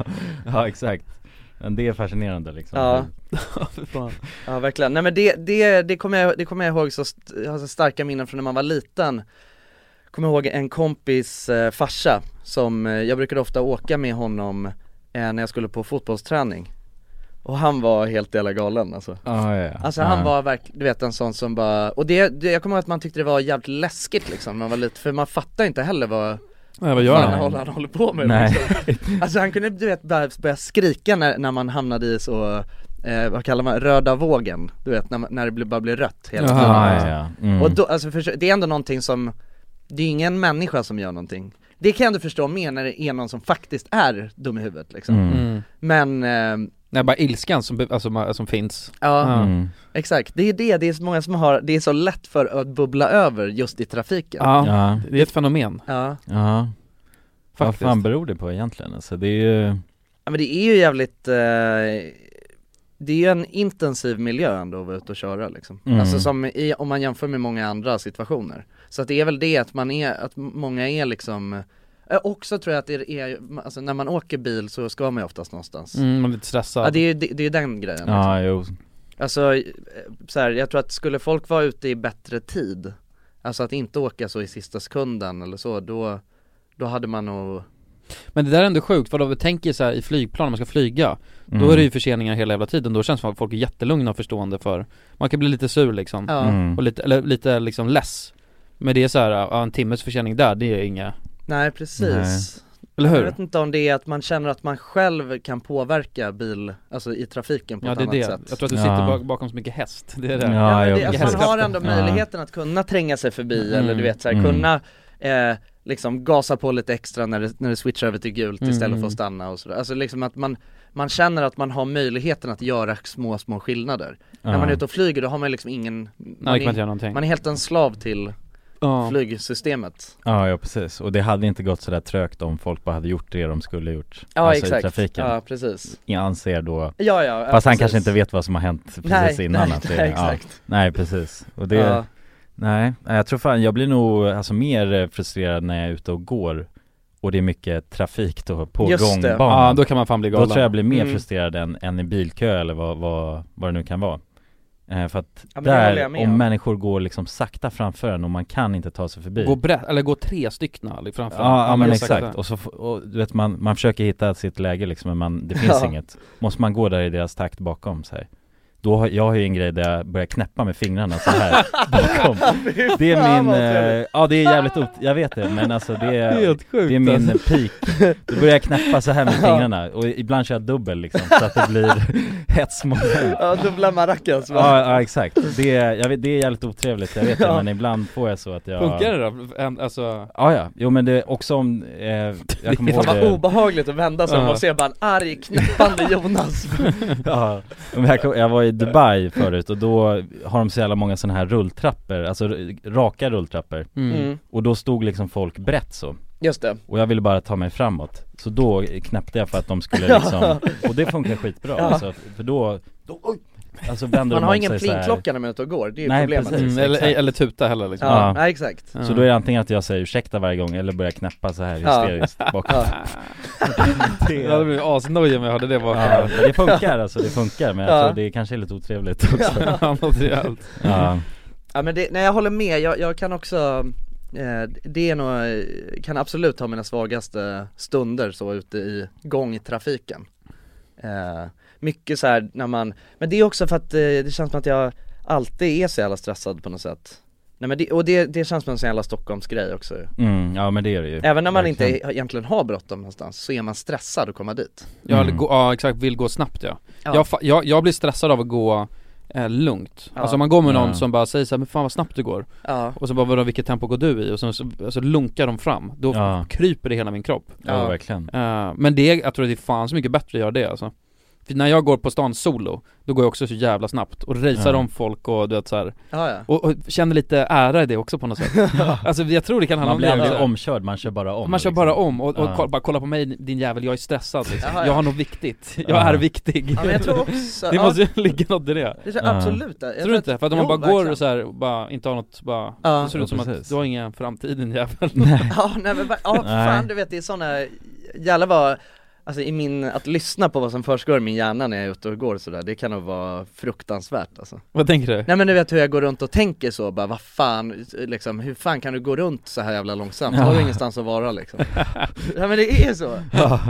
A: ja exakt Men det är fascinerande liksom
B: Ja.
A: [laughs]
C: Fy fan.
B: Ja verkligen, nej men det, det, det kommer jag, det kommer jag ihåg så, st- jag har så starka minnen från när man var liten Kommer ihåg en kompis eh, farsa som, eh, jag brukade ofta åka med honom eh, när jag skulle på fotbollsträning Och han var helt jävla galen alltså
A: Ja, ja, ja.
B: Alltså
A: ja.
B: han var verkligen, du vet en sån som bara, och det, det, jag kommer ihåg att man tyckte det var jävligt läskigt liksom när man var lite, för man fattar inte heller vad
C: Ja, vad gör
A: Nej.
B: fan han,
C: han?
B: håller, han håller på med [laughs]
A: Nej,
B: Alltså han kunde du vet bara börja skrika när, när man hamnade i så, eh, vad kallar man, röda vågen, du vet när, man- när det blir- bara blir rött hela tiden
A: ja, ja, ja. Mm.
B: Och då, alltså försö- det är ändå någonting som, det är ingen människa som gör någonting Det kan jag ändå förstå mer när det är någon som faktiskt är dum i huvudet liksom
A: Mm.
C: Mm.
B: Men, eh,
C: Nej bara ilskan som, alltså, ma- som finns
B: ja
A: Mm.
B: exakt, det är det, det är så många som har, det är så lätt för att bubbla över just i trafiken
C: Ja,
A: Ja,
C: det är ett fenomen
B: Ja,
A: ja Vad
C: faktiskt
A: fan beror det på egentligen? Alltså det är ju,
B: Ja, men det är ju jävligt eh, Det är ju en intensiv miljö ändå att vara ute och köra liksom
A: Mm.
B: Alltså som i, om man jämför med många andra situationer Så att det är väl det att man är, att många är liksom eh, Också tror jag att det är, alltså när man åker bil så ska man ju oftast någonstans
C: Mm, man blir lite
B: Ja
C: stressad
B: det är ju det, det är ju den grejen liksom.
A: ja jo,
B: Alltså eh, så här, jag tror att skulle folk vara ute i bättre tid Alltså att inte åka så i sista sekunden eller så, då, då hade man nog
C: Men det där är ändå sjukt, vadå, vi tänker så här i flygplan, när man ska flyga
A: mm.
C: Då är det ju förseningar hela jävla tiden, då känns det som att folk är jättelugna och förstående för Man kan bli lite sur liksom,
B: Ja,
A: mm.
C: och lite, eller lite liksom less Men det är så här, ja, en timmes försening där, det är inga,
B: nej precis
A: Nej.
C: eller
B: Jag
C: hur?
B: vet inte om det är att man känner att man själv kan påverka bil, alltså i trafiken på
C: Ja
B: ett
C: det är
B: annat
C: det,
B: sätt
C: jag tror att du
A: Ja.
C: sitter bak, bakom så mycket häst, det är det
A: Ja,
B: men
A: jo,
B: det, alltså
A: precis.
B: man har ändå
A: Ja.
B: möjligheten att kunna tränga sig förbi
C: Mm.
B: eller du vet såhär,
A: Mm.
B: kunna eh, liksom gasa på lite extra när det, när det switchar över till gult istället för
C: Mm.
B: att stanna och sådär. Alltså liksom att man, man känner att man har möjligheten att göra små, små skillnader. När man är ute och flyger då har man liksom ingen,
C: Nej
B: man,
C: det kan man inte
B: är,
C: göra någonting
B: man är helt en slav till
C: Ja.
B: flygsystemet.
A: ja, ja precis, och det hade inte gått sådär trögt om folk bara hade gjort det de skulle gjort
B: Ja
A: alltså i
B: exakt,
A: trafiken,
B: ja precis.
A: jag anser då
B: Ja ja, ja,
A: Fast han
B: precis.
A: kanske inte vet vad som har hänt precis
B: Nej,
A: innan
B: nej,
A: att det,
B: nej, exakt.
A: Ja, nej precis, och det,
B: Ja.
A: Nej, nej, jag tror fan, jag blir nog alltså mer eh, frustrerad när jag är ute och går och det är mycket trafik då på
B: Just det.
A: gångbanan
C: Ja då kan man fan bli
A: Då
C: galen
A: tror jag blir mer
B: Mm.
A: frustrerad än, än i bilkö eller vad, vad, vad det nu kan vara eh, För att
B: Ja, men det håller
A: där,
B: jag med
A: om
B: om.
A: människor går liksom sakta framför en och man kan inte ta sig förbi
C: Gå brett, eller gå tre styckna liksom, framför
A: Ja, ja men
C: det är säkert
A: exakt, och så f- och, du vet man, man försöker hitta sitt läge liksom men man, det finns
B: Ja.
A: inget Måste man gå där i deras takt bakom så här. Då har, jag har ju en grej där jag börjar knäppa med fingrarna så här bakom Det är
B: fan,
A: min,
B: vad
A: eh,
B: trevligt.
A: ja det är jävligt ot- jag vet det men alltså det
C: det.
A: är,
C: sjukt alltså.
A: det är min peak Då börjar jag knäppa så här med fingrarna och ibland kör jag dubbel liksom så att det blir [laughs] hetsmoment
B: Ja, dubbla maracas va?
A: Ja, ja exakt, det är, jag vet, det är jävligt otrevligt, jag vet det,
B: Ja.
A: men ibland får jag så att jag
C: Funkar det då? En- Alltså,
A: Ja, ja, jo men det är också om,
B: [laughs]
A: eh, jag kommer ihåg
B: Fan
A: det
B: vad obehagligt att vända sig om
C: Ja.
B: och se bara en arg knäppande
A: [laughs]
B: Jonas
A: [laughs] Ja, men jag, kom, jag var i Dubai förut och då har de så jävla många sådana här rulltrappor, alltså r- raka rulltrappor
C: mm.
B: mm.
A: Och då stod liksom folk brett så,
B: Just det,
A: och jag ville bara ta mig framåt Så
B: [laughs]
A: då knäppte jag för att de skulle liksom, och det funkar skitbra alltså, för då, då oj, Alltså vänder
B: Man
A: de
B: har
A: om
B: ingen
A: sig så här.
B: plingklocka när man är ute och går, det är ju
A: Nej,
B: problemet
A: precis.
C: Mm,
B: liksom.
C: eller,
A: exakt.
C: eller tuta heller liksom.
B: Ja,
A: Ja.
B: nej exakt
A: Så då är det antingen att jag säger ursäkta varje gång eller börjar knäppa så här
B: Ja.
A: hysteriskt bakom
B: ja.
A: [laughs] det,
C: Jag hade blivit asnojig om jag hörde det
A: ja,
C: [laughs] bakom
A: men det funkar alltså, det funkar men
B: Ja.
A: jag tror det kanske är lite otrevligt också
C: ja. något rejält.
A: Ja,
B: ja men det, nej jag håller med, jag, jag kan också eh, Det är nog, eh, kan absolut ha mina svagaste stunder så ute i gångtrafiken eh, Mycket så här när man, men det är också för att eh, det känns som att jag alltid är så jävla stressad på något sätt Nej men det, och det, det känns som en sån jävla Stockholmsgrej också ju.
A: mm, ja men det är det ju
C: Typ.
B: Även när man inte
A: Verkligen.
B: e- egentligen har bråttom någonstans så är man stressad att komma dit
C: Ja,
A: Mm.
C: eller gå, ja exakt, vill gå snabbt ja. Jag, fa- jag, jag blir stressad av att gå eh, lugnt.
B: Ja.
C: Alltså om man går med någon
A: Ja.
C: som bara säger så här, men fan vad snabbt du går.
B: Ja,
C: Och så bara vadå vilket tempo går du i? Och sen så, så lunkar de fram, då
A: Ja.
C: kryper det hela min kropp.
A: Ja verkligen
C: Eh, men det, jag tror att det är fan så mycket bättre att göra det alltså. För när jag går på stan solo, då går jag också så jävla snabbt och racear
A: Ja.
C: om folk och du vet så här.
B: ja, ja.
C: Och, och känner lite ära i det också på något sätt. alltså jag tror det kan handla
A: Man
C: om
A: blir
C: det. Alltså,
A: aldrig
C: också.
A: omkörd, man kör bara om
C: Man kör
A: liksom.
C: bara om och, och
A: Ja.
C: kolla, bara kolla på mig din jävel, jag är stressad liksom.
B: Jaha, ja.
C: Jag har något viktigt, jag
A: Ja.
C: är viktig.
B: Ja
C: [laughs]
B: men jag tror också,
C: det
B: ja,
C: måste ju ligga något i det.
B: det tror
A: Ja.
B: jag absolut det. Jag
C: tror du inte? För att om man
B: jo,
C: bara går
B: verkligen.
C: och så här, och bara inte har något, bara,
B: Ja.
C: det ser ut som
A: Ja,
C: att
A: precis.
C: du har ingen framtid din jävel.
B: [laughs] Ja nej men va- ja
A: Nej.
B: fan du vet det är sådana, jävlar vad, alltså i min, att lyssna på vad som försiggår i min hjärna när jag är ute och går och sådär, det kan nog vara fruktansvärt alltså
C: [laughs] Vad tänker du?
B: Nej men du vet hur jag går runt och tänker så bara, vad fan, liksom hur fan kan du gå runt så här jävla långsamt? Har du ingenstans att vara liksom?
C: [laughs]
B: Nej men det är så!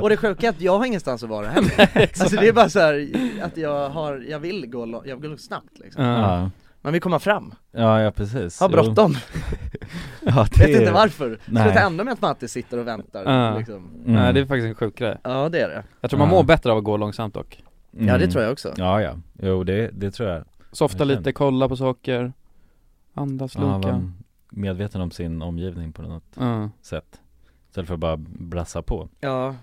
B: Och det sjuka är att jag har ingenstans att vara
A: [laughs]
B: heller Alltså det är bara så här att jag har, jag vill gå, lång- jag vill gå snabbt liksom
C: Ja.
A: Ja,
B: Man vill komma fram,
A: ja, ja precis
B: ha
A: Jo.
B: bråttom,
A: ja, det...
B: vet inte varför
A: Nej.
B: Sluta ändå med att man alltid sitter och väntar
C: Ja.
B: liksom.
A: Mm.
C: Nej det är faktiskt en sjuk grej.
B: Ja det är det,
C: Jag tror man
A: Ja.
C: mår bättre av att gå långsamt dock.
B: ja det tror jag också
A: mm. Ja ja, jo det, det tror jag
C: Softa
A: Jag känner-
C: lite, kolla på saker Andas,
A: Ja,
C: lunka
A: vara medveten om sin omgivning på något
C: Mm.
A: sätt Istället för att bara brassa på
B: Ja,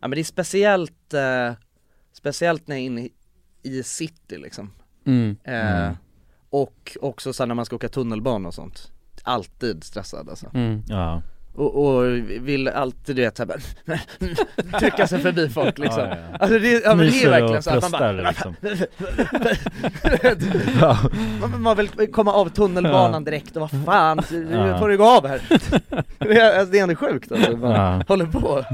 B: ja men det är speciellt, eh, speciellt när jag är inne i- i city liksom
C: Mm.
B: eh,
A: Mm.
B: Och också sen när man ska åka tunnelbana och sånt Alltid stressad alltså
C: Mm.
A: Ja,
B: Och, och vill alltid du vet så här, bara [laughs] trycka sig förbi folk liksom
A: ja, ja.
B: Alltså det, är- ja, men det
A: Myser
B: är
A: och
B: verkligen så att man bara
A: pröstar,
B: [laughs]
A: liksom.
B: Ja. [laughs] man, man vill komma av tunnelbanan direkt och vad fan, nu får du gå av här [laughs] Det är, alltså, det är ändå sjukt alltså, man
A: Ja. [laughs]
B: håller på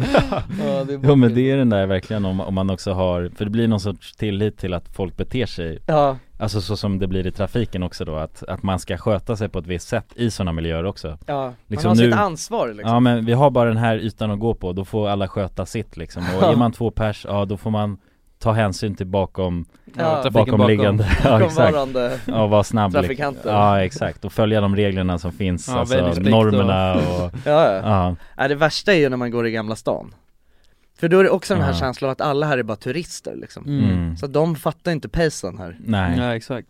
B: ja, det är
A: Jo men det är den där verkligen om, om man också har, för det blir någon sorts tillit till att folk beter sig
B: Ja,
A: Alltså så som det blir i trafiken också då, att, att man ska sköta sig på ett visst sätt i sådana miljöer också
B: ja,
A: Liksom
B: man har
A: nu-
B: sitt ansvar liksom
A: Ja men vi har bara den här ytan att gå på, då får alla sköta sitt liksom Och är man två pers, ja då får man ta hänsyn till bakom,
B: Ja.
C: Trafiken bakom.
A: bakomliggande Ja exakt,
B: Komvarande
A: ja vara snabb liksom.
B: trafikanter
A: Ja exakt, och följa de reglerna som finns,
C: Ja,
A: alltså
C: väjningsplikt och-
A: normerna och,
B: Ja, ja.
A: ja
B: Nej, det värsta är ju när man går i Gamla stan För då är det också den här
A: Ja.
B: känslan av att alla här är bara turister liksom
C: Mm.
A: Mm.
B: Så att de fattar inte pacen här
A: Nej,
C: Ja exakt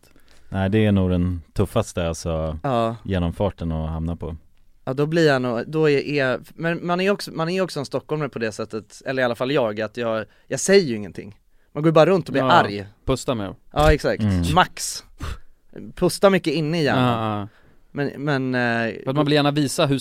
A: nej det är nog den tuffaste alltså
B: Ja,
A: genomfarten att hamna på
B: ja då blir jag nog, då är, är men man är ju också, man är ju också en stockholmare på det sättet, eller i alla fall jag, att jag, jag säger ju ingenting Man går ju bara runt och blir
C: Ja.
B: arg
C: Pusta med
B: Ja exakt,
A: Mm.
B: max Pusta mycket inne i
C: ja.
B: hjärnan,
C: ja.
B: men, men eh,
C: För att man vill gärna visa hur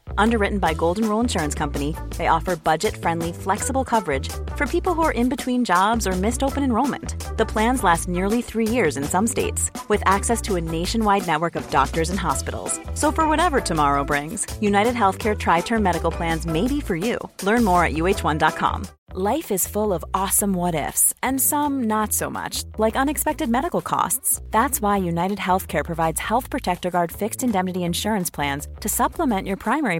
F: Underwritten by Golden Rule Insurance Company, they offer budget friendly, flexible coverage for people who are in between jobs or missed open enrollment. The plans last nearly three years in some states, with access to a nationwide network of doctors and hospitals. So, for whatever tomorrow brings, United Healthcare Tri Term Medical Plans may be for you. Learn more at uh1.com. Life is full of awesome what ifs, and some not so much, like unexpected medical costs. That's why United Healthcare provides Health Protector Guard fixed indemnity insurance plans to supplement your primary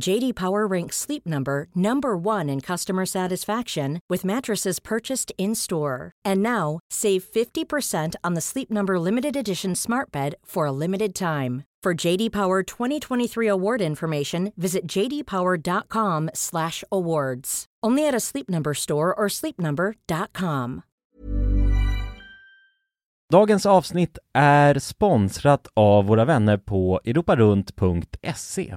G: JD Power ranks Sleep Number number 1 in customer satisfaction with mattresses purchased in-store. And now, save 50% on the Sleep Number limited edition Smart Bed for a limited time. For JD Power 2023 award information, visit jdpower.com/awards. Only at a Sleep Number store or sleepnumber.com.
A: Dagens avsnitt är sponsrat av våra vänner på europarunt.se.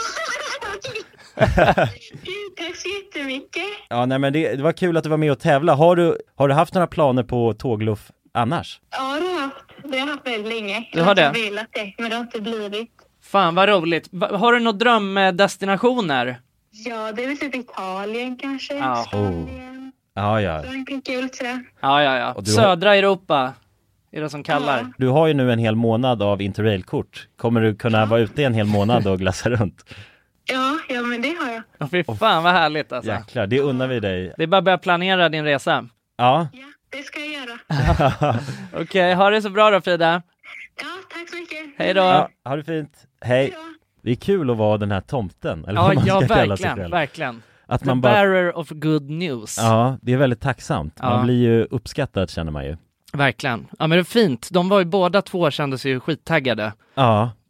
H: Gud, [laughs] Tack så jättemycket.
A: Ja, nej men det, det var kul att du var med och tävla. Har du, har du haft några planer på tågluff annars?
H: Ja, det har jag haft. Det har jag haft väldigt länge.
B: Du har det?
H: Jag har velat det, men det har inte blivit.
B: Fan vad roligt. Va- Har du några drömdestinationer?
H: Ja, det är väl typ Italien kanske.
B: Ja.
H: Spanien.
A: Ja, ja.
H: Frankrike och lite sådär.
B: Ja, ja, ja.
A: Och du har-
B: Södra Europa är det som kallar.
A: Du har ju nu en hel månad av interrailkort. Kommer du kunna vara ute en hel månad och glassa runt?
H: Ja, ja, men det har jag.
B: Ja, fy fan vad härligt alltså.
A: Jäklar, det unnar vi dig.
B: Det är bara att börja planera din resa.
A: Ja,
H: Ja, det ska jag göra.
B: Okej, ha det så bra då Frida.
H: Ja, tack så mycket.
B: Hej då.
A: ja ha det fint. Hej.
H: då.
A: Det är kul att vara den här tomten, eller
B: Ja,
A: vad man
B: ja
A: ska kalla sig
B: verkligen,
A: själv.
B: verkligen.
A: Att
B: The
A: man bara,
B: bearer of good news.
A: ja, det är väldigt tacksamt.
B: Ja.
A: Man blir ju uppskattad känner man ju.
B: Verkligen. Ja men det är fint. De var ju båda två kände sig ju skittaggade
A: Ja,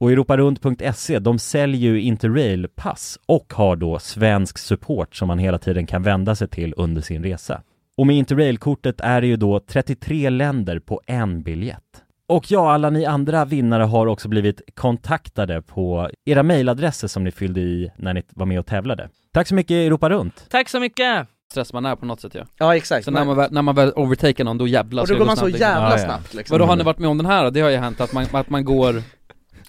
A: Och europarunt.se, E, de säljer ju Interrail-pass och har då svensk support som man hela tiden kan vända sig till under sin resa. Och med Interrail-kortet är det ju då 33 länder på en biljett. Och ja, alla ni andra vinnare har också blivit kontaktade på era mejladresser som ni fyllde i när ni var med och tävlade. Tack så mycket Europa Runt!
B: Tack så mycket!
C: Stress man är på något sätt ja.
B: Ja exakt.
C: Så när man, väl, när man väl overtaker någon, då jävlar ska det gå snabbt, liksom.
A: jävla Ja, ja. snabbt,
B: liksom.
C: Vadå har ni varit med om den här Det har ju hänt att man, att man går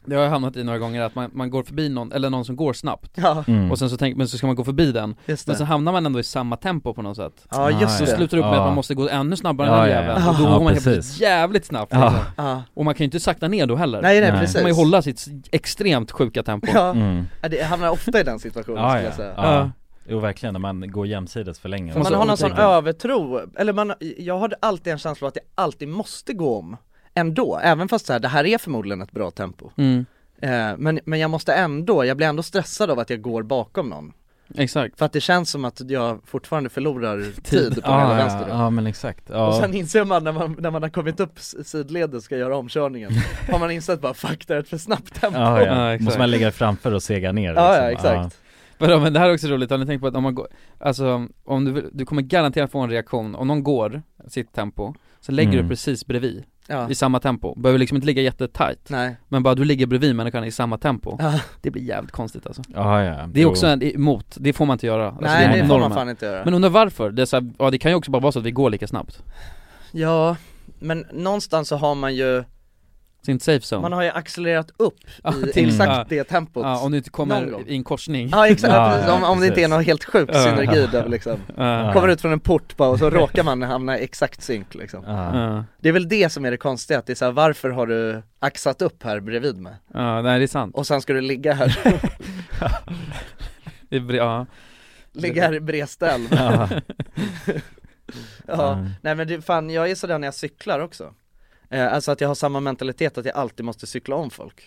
C: Det har jag hamnat i några gånger, att man, man går förbi någon, eller någon som går snabbt
B: Ja,
A: Mm.
C: Och sen så tänker man, så ska man gå förbi den
B: just
C: Men så hamnar man ändå i samma tempo på något sätt
B: Ja
A: just
C: Så
A: det.
C: slutar det upp med
A: Ja.
C: att man måste gå ännu snabbare
A: Ja,
C: än den
A: ja, ja.
C: jäveln, och då
A: Ja,
C: går man helt
A: precis.
C: plötsligt jävligt snabbt
A: Ja.
C: liksom. Och man kan ju inte sakta ner då heller
A: nej, Nej. precis.
C: Då får man ju hålla sitt extremt sjuka tempo ja.
A: Mm.
B: det hamnar ofta i den situationen
A: Ja, ja. ja. Jo, verkligen, när man går jämsides för länge.
B: Man
C: Alltså,
B: har någon sån
C: otänkande.
B: övertro, eller man, jag hade alltid en känsla av att jag alltid måste gå om ändå, även fast så här, det här är förmodligen ett bra tempo.
C: mm.
B: Eh, men, men jag måste ändå, jag blir ändå stressad av att jag går bakom någon.
C: Exakt
B: För att det känns som att jag fortfarande förlorar tid på hela
A: Ah, ja,
B: vänster
A: ja, ja men exakt, ja.
B: Och sen inser man när, man när man har kommit upp s- sidledes ska göra omkörningen Har man insett bara fuck det är ett för snabbt tempo
A: Ah, ja,
C: Ja,
A: ja.
C: exakt.
A: måste man lägga framför och sega ner
B: Ja, ja,
A: liksom.
B: exakt.
C: Vadå men det här är också roligt, har ni tänkt på att om man går, alltså om du, vill- du kommer garanterat få en reaktion, om någon går sitt tempo, så lägger
A: Mm.
C: du precis bredvid,
B: Ja.
C: i samma tempo, behöver liksom inte ligga jättetajt
B: Nej.
C: Men bara du ligger bredvid människan i samma tempo,
B: Ja.
C: det blir jävligt konstigt alltså
A: ja, Ah, ja.
C: Det är
A: Jo.
C: också en, emot, det får man inte göra alltså,
B: Nej,
C: är
B: det får man
C: normen.
B: fan inte göra.
C: Men undrar varför? Det är så här, ja det kan ju också bara vara så att vi går lika snabbt
B: Ja, men någonstans så har man ju,
C: Sin safe zone [laughs]
B: man har ju accelererat upp
C: Ja,
B: i
C: till-
B: exakt
C: ja.
B: det tempot.
C: Ja, om du inte
B: Någon gång.
C: kommer i en korsning
B: Ja, exakt,
A: Ja,
B: precis.
A: ja,
B: om, om det inte är
A: precis.
B: någon helt sjuk
C: Ja.
B: synergi där liksom.
C: Ja.
B: Kommer ut från en port bara och [laughs] så råkar man hamna i exakt synk liksom.
A: ja.
C: Ja.
B: Det är väl det som är det konstiga, att det är så här, varför har du axat upp här bredvid mig?
C: Ja, nej det är sant.
B: Och sen ska du ligga [laughs] här,
C: Det är, bre-
B: [laughs]
C: ja.
B: ligga här i bredställ.
A: Ja.
B: [laughs]
A: Ah.
B: Ja,
A: Mm.
B: nej men det, fan jag är sådär när jag cyklar också eh, Alltså att jag har samma mentalitet att jag alltid måste cykla om folk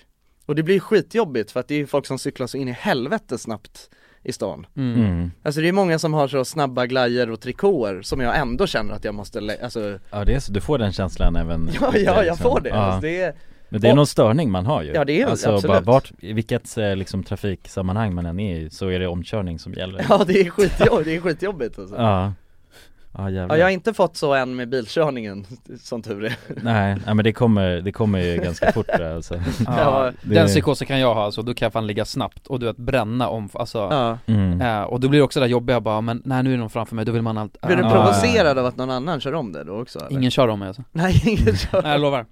B: Och det blir ju skitjobbigt för att det är ju folk som cyklar så in i helvete snabbt i stan
C: Mm.
A: Mm.
B: Alltså det är många som har så snabba glajer och trikåer som jag ändå känner att jag måste, lä- alltså
A: ja det är så, du får den känslan även
B: [laughs]
A: liksom. Ah.
B: Ja, ja jag får det, alltså, det är,
A: Men det är
B: Och-
A: någon störning man har ju
B: Ja, det är-
A: Alltså
B: absolut.
A: bara vart, i vilket eh, liksom trafiksammanhang man än är i så är det omkörning som gäller
B: ja det är skitjobbigt, det är skitjobbigt alltså
A: Ja, ja Ah, jävlar
B: Ja jag har inte fått så än med bilkörningen, som tur är
A: nej, nej men det kommer, det kommer ju ganska fort där,
B: [laughs]
A: alltså
C: Ja,
A: det-
C: Den psykosen kan jag ha alltså, då kan jag fan ligga snabbt och du vet bränna om, alltså
B: Ja,
A: mm.
C: eh, Och då blir det också det där jobbiga bara, men nej nu är någon framför mig, då vill man allt
B: blir du
C: Ah.
B: provocerad av att någon annan kör om dig då också eller?
C: Ingen kör om mig alltså,
B: [laughs] Nej
C: [laughs]
B: ingen
C: nej jag
B: kör
C: lovar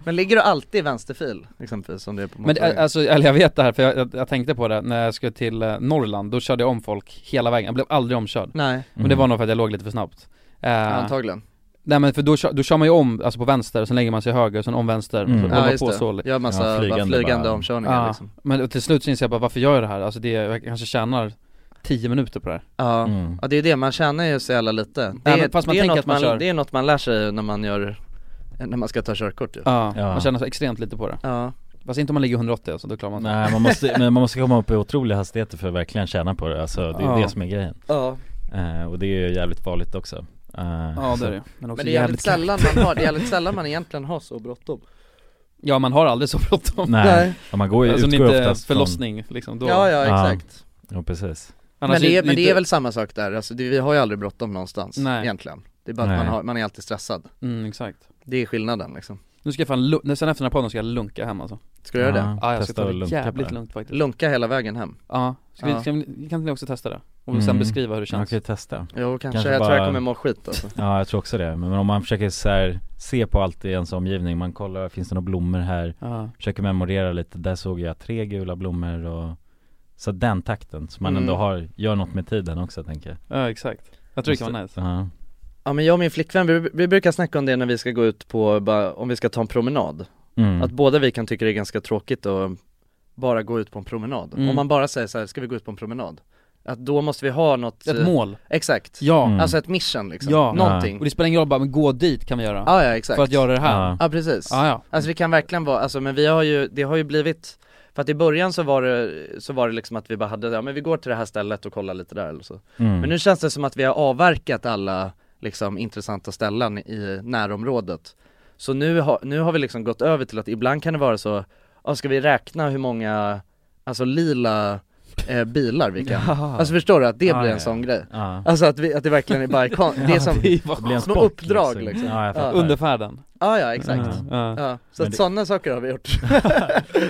C: [laughs]
B: Men ligger du alltid i vänsterfil exempelvis som det är på
C: Men
B: motorvägen?
C: eh, alltså, eller jag vet det här för jag, jag, jag tänkte på det när jag skulle till eh, Norrland, då körde jag om folk hela vägen, jag blev aldrig omkörd
B: Nej,
A: Mm.
C: Men det var nog för att jag låg lite för snabbt eh,
B: Mm. antagligen.
C: Nej men för då, kör- då kör man ju om, alltså på vänster, sen lägger man sig höger, sen om vänster,
A: Mm.
C: mm.
A: Ja,
C: håller på så
B: Gör massa
A: Ja,
B: bara flygande,
A: flygande bara.
B: omkörningar
C: Ja,
B: liksom.
C: men och till slut så inser jag bara varför gör jag det här? Alltså det, jag kanske tjänar 10 minuter på det här
B: Ja.
A: Mm.
B: ja, det är det, man tjänar ju så jävla lite. Det
C: Nej,
B: är,
C: men fast man
B: det, är
C: tänker
B: något
C: att man kör.
B: det är något man lär sig när man gör, när man ska ta körkort ju. Ja.
C: Ja,
A: Ja.
C: man tjänar så extremt lite på det
B: Ja.
C: Fast inte om man ligger 180 alltså, då klarar man det
A: Nej man måste, men man måste komma upp i otroliga hastigheter för att verkligen tjäna på det, alltså det är
C: Ja.
A: det som är grejen eh, Och det är ju jävligt farligt också eh,
C: Ja
A: så-
C: det är det Men också
B: Men det är jävligt
C: kul.
B: sällan man har, det är jävligt sällan man egentligen har så bråttom.
C: Ja man har aldrig så bråttom [laughs]
A: Nej,
B: Nej.
A: Ja, man går ju,
C: Alltså om det
A: utgår
C: inte är
A: oftast
C: förlossning liksom, då
B: Ja, ja
A: Ja.
B: exakt.
A: från, ja precis
C: Annars
B: Men, det är, men det
C: inte-
B: är väl samma sak där, alltså det, vi har ju aldrig bråttom någonstans
C: Nej.
B: egentligen. Det är bara att
A: Nej.
B: man, har, man är alltid stressad.
C: Mm, exakt
B: Det är skillnaden liksom.
C: Nu ska jag fan, lu- nu- sen efter den här podden ska jag lunka hem alltså
B: Ska du göra det?
A: Ja,
C: Ja jag ska
A: Mm, testa
C: ta
A: att
C: det
A: lunka
C: jävligt
A: bara.
C: lugnt faktiskt
B: Lunka hela vägen hem?
C: Ja, ska
B: Ja.
C: vi, ska vi, kan inte ni också testa det? Och sen
A: Mm.
C: beskriva hur det
A: Man
C: känns
A: kan ju testa
B: Jo kanske,
A: Kanske
B: jag tror jag
A: bara-
B: kommer må skit alltså.
A: Ja jag tror också det, men om man försöker så här, se på allt i ens omgivning, man kollar, finns det några blommor här?
C: Ja,
A: Försöker memorera lite, där såg jag tre gula blommor och Så den takten, så man
B: Mm.
A: ändå har, gör något med tiden också tänker jag
C: ja exakt Jag tror det kan vara nice
A: Ja,
B: Ja men jag och min flickvän, vi, vi brukar snacka om det när vi ska gå ut på, bara, om vi ska ta en promenad
A: mm.
B: Att båda vi kan tycka det är ganska tråkigt att bara gå ut på en promenad
C: Mm.
B: Om man bara säger så här, ska vi gå ut på en promenad? Att då måste vi ha något
C: Ett
B: eh,
C: mål,
B: Exakt,
C: ja
A: Mm.
B: alltså ett mission liksom,
C: Ja.
B: någonting
C: Och
B: Ja
C: det spelar ingen roll bara, men gå dit kan vi göra
B: ja, exakt
C: För att göra det här
A: ja.
B: Ja precis
C: Ja, Ah, ja.
B: Alltså vi kan verkligen vara, alltså men vi har ju, det har ju blivit för att i början så var det, så var det liksom att vi bara hade, ja men vi går till det här stället och kollar lite där eller så
A: Mm.
B: Men nu känns det som att vi har avverkat alla liksom intressanta ställen i närområdet. Så nu har, nu har vi liksom gått över till att ibland kan det vara så, ja ska vi räkna hur många, alltså lila eh, bilar vi kan, alltså förstår du att det
A: Ja,
B: blir
A: ja,
B: en sån
A: ja.
B: grej?
A: ja.
B: Alltså att, vi, att det verkligen
A: [laughs]
B: är bara, kon- det är som,
A: Det blir en
B: små
A: sport,
B: uppdrag, liksom.
A: Ja, jag
B: Ja.
A: fattar.
C: Under färden Mm.
B: ja ja exakt.
A: Ja.
C: Ja.
B: Ja, så
A: Men
B: att
A: det-
B: sådana saker har vi gjort.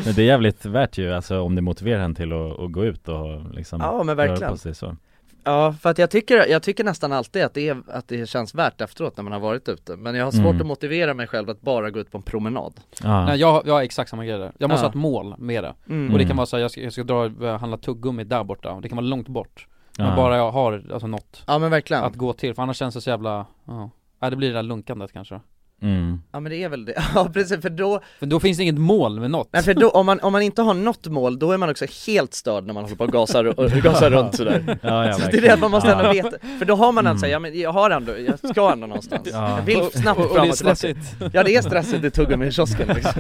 A: Men det är jävligt värt ju, alltså om det motiverar en till att, att gå ut och liksom
B: [laughs] Ja, men
A: röra
B: verkligen.
A: på sig så
B: Ja, för att jag tycker, jag tycker nästan alltid att det, är, att det känns värt efteråt när man har varit ute. Men jag har svårt
A: Mm.
B: att motivera mig själv att bara gå ut på en promenad.
A: Ja,
C: Nej, jag, jag har exakt samma grej där. Jag måste
B: Ja.
C: ha ett mål med det.
B: Mm.
C: Och det kan vara så här, jag ska, jag ska dra, börja handla tuggummi där borta, det kan vara långt bort Men
A: Ja.
C: bara jag har, alltså något
B: Ja men verkligen.
C: att gå till, för annars känns det så jävla, ja, ja det blir det där lunkandet kanske
A: Mm.
B: Ja men det är väl det, [laughs] ja precis för då,
C: För då finns det inget mål med något.
B: nej för då om man, om man inte har något mål då är man också helt störd när man håller på och
A: [laughs]
B: gasar, och, och gasar runt sådär
A: Ja, ja,
B: Så det är
A: verkligen.
B: det att man måste
A: Ja.
B: ändå veta, för då har man ändå såhär, ja men jag har ändå, jag ska ändå någonstans
A: Ja.
B: Jag vill snabbt
C: och, och
B: fram
C: det är
B: och tillbaka
C: stressigt.
B: Ja det är stressigt i tuggummi-kiosken liksom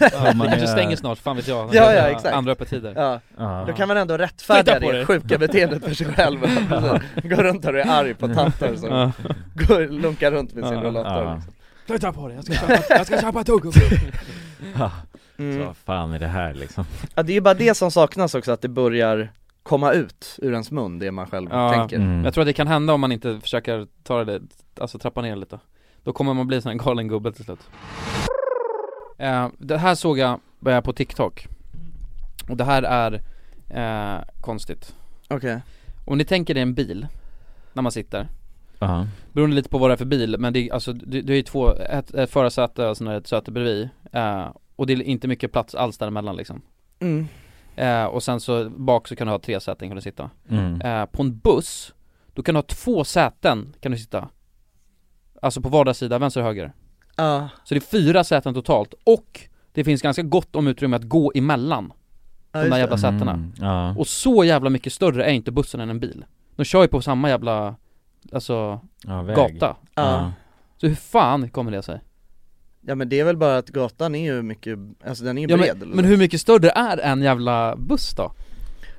C: Ja,
A: man
C: man kanske
A: är-
C: stänger snart, fan vet jag.
B: Ja, ja, exakt.
C: Andra öppettider.
B: ja.
A: [laughs] Ja.
B: Då kan man ändå rättfärdiga
C: Flytta på
B: det
C: dig.
B: sjuka beteendet för sig själv Gå runt där och är arg på tanter som går, lunkar runt med sin
C: Ja.
B: rollator
A: Ja.
B: liksom.
C: Flytta på dig, jag ska köpa, jag ska köpa tuggummi. [laughs]
A: Ja. Så
B: mm.
A: vad fan är det här liksom?
B: Ja det är ju bara det som saknas också, att det börjar komma ut ur ens mun det man själv
C: Ja.
B: tänker
A: Mm.
C: Jag tror att det kan hända om man inte försöker ta det, alltså trappa ner lite Då kommer man bli sån här galen gubbe till slut eh, Det här såg jag eh, på TikTok Och det här är eh, konstigt
B: Okej
C: Om ni tänker er en bil, när man sitter
A: Ja.
C: Beroende lite på vad det är för bil, men det är, alltså, det, det är ju två, ett, ett förarsäte och sen är det ett säte bredvid eh, Och det är inte mycket plats alls däremellan liksom
B: mm.
C: eh, Och sen så bak så kan du ha tre säten kan du sitta
A: Mm.
C: eh, på en buss, då kan du ha två säten kan du sitta Alltså på vardera sida, vänster och höger
B: Ja,
C: Så det är fyra säten totalt och det finns ganska gott om utrymme att gå emellan
B: ja
C: de
B: just
C: där
B: det.
C: jävla sätena
A: Mm. Ja.
C: Och så jävla mycket större är inte bussen än en bil De kör ju på samma jävla, alltså
A: ja, väg.
C: gata
B: ja.
A: Ja.
C: Så hur fan kommer det sig?
B: ja men det är väl bara att gatan är ju mycket, alltså den är ju
C: Ja,
B: bred
C: men, men hur mycket större är en jävla buss då?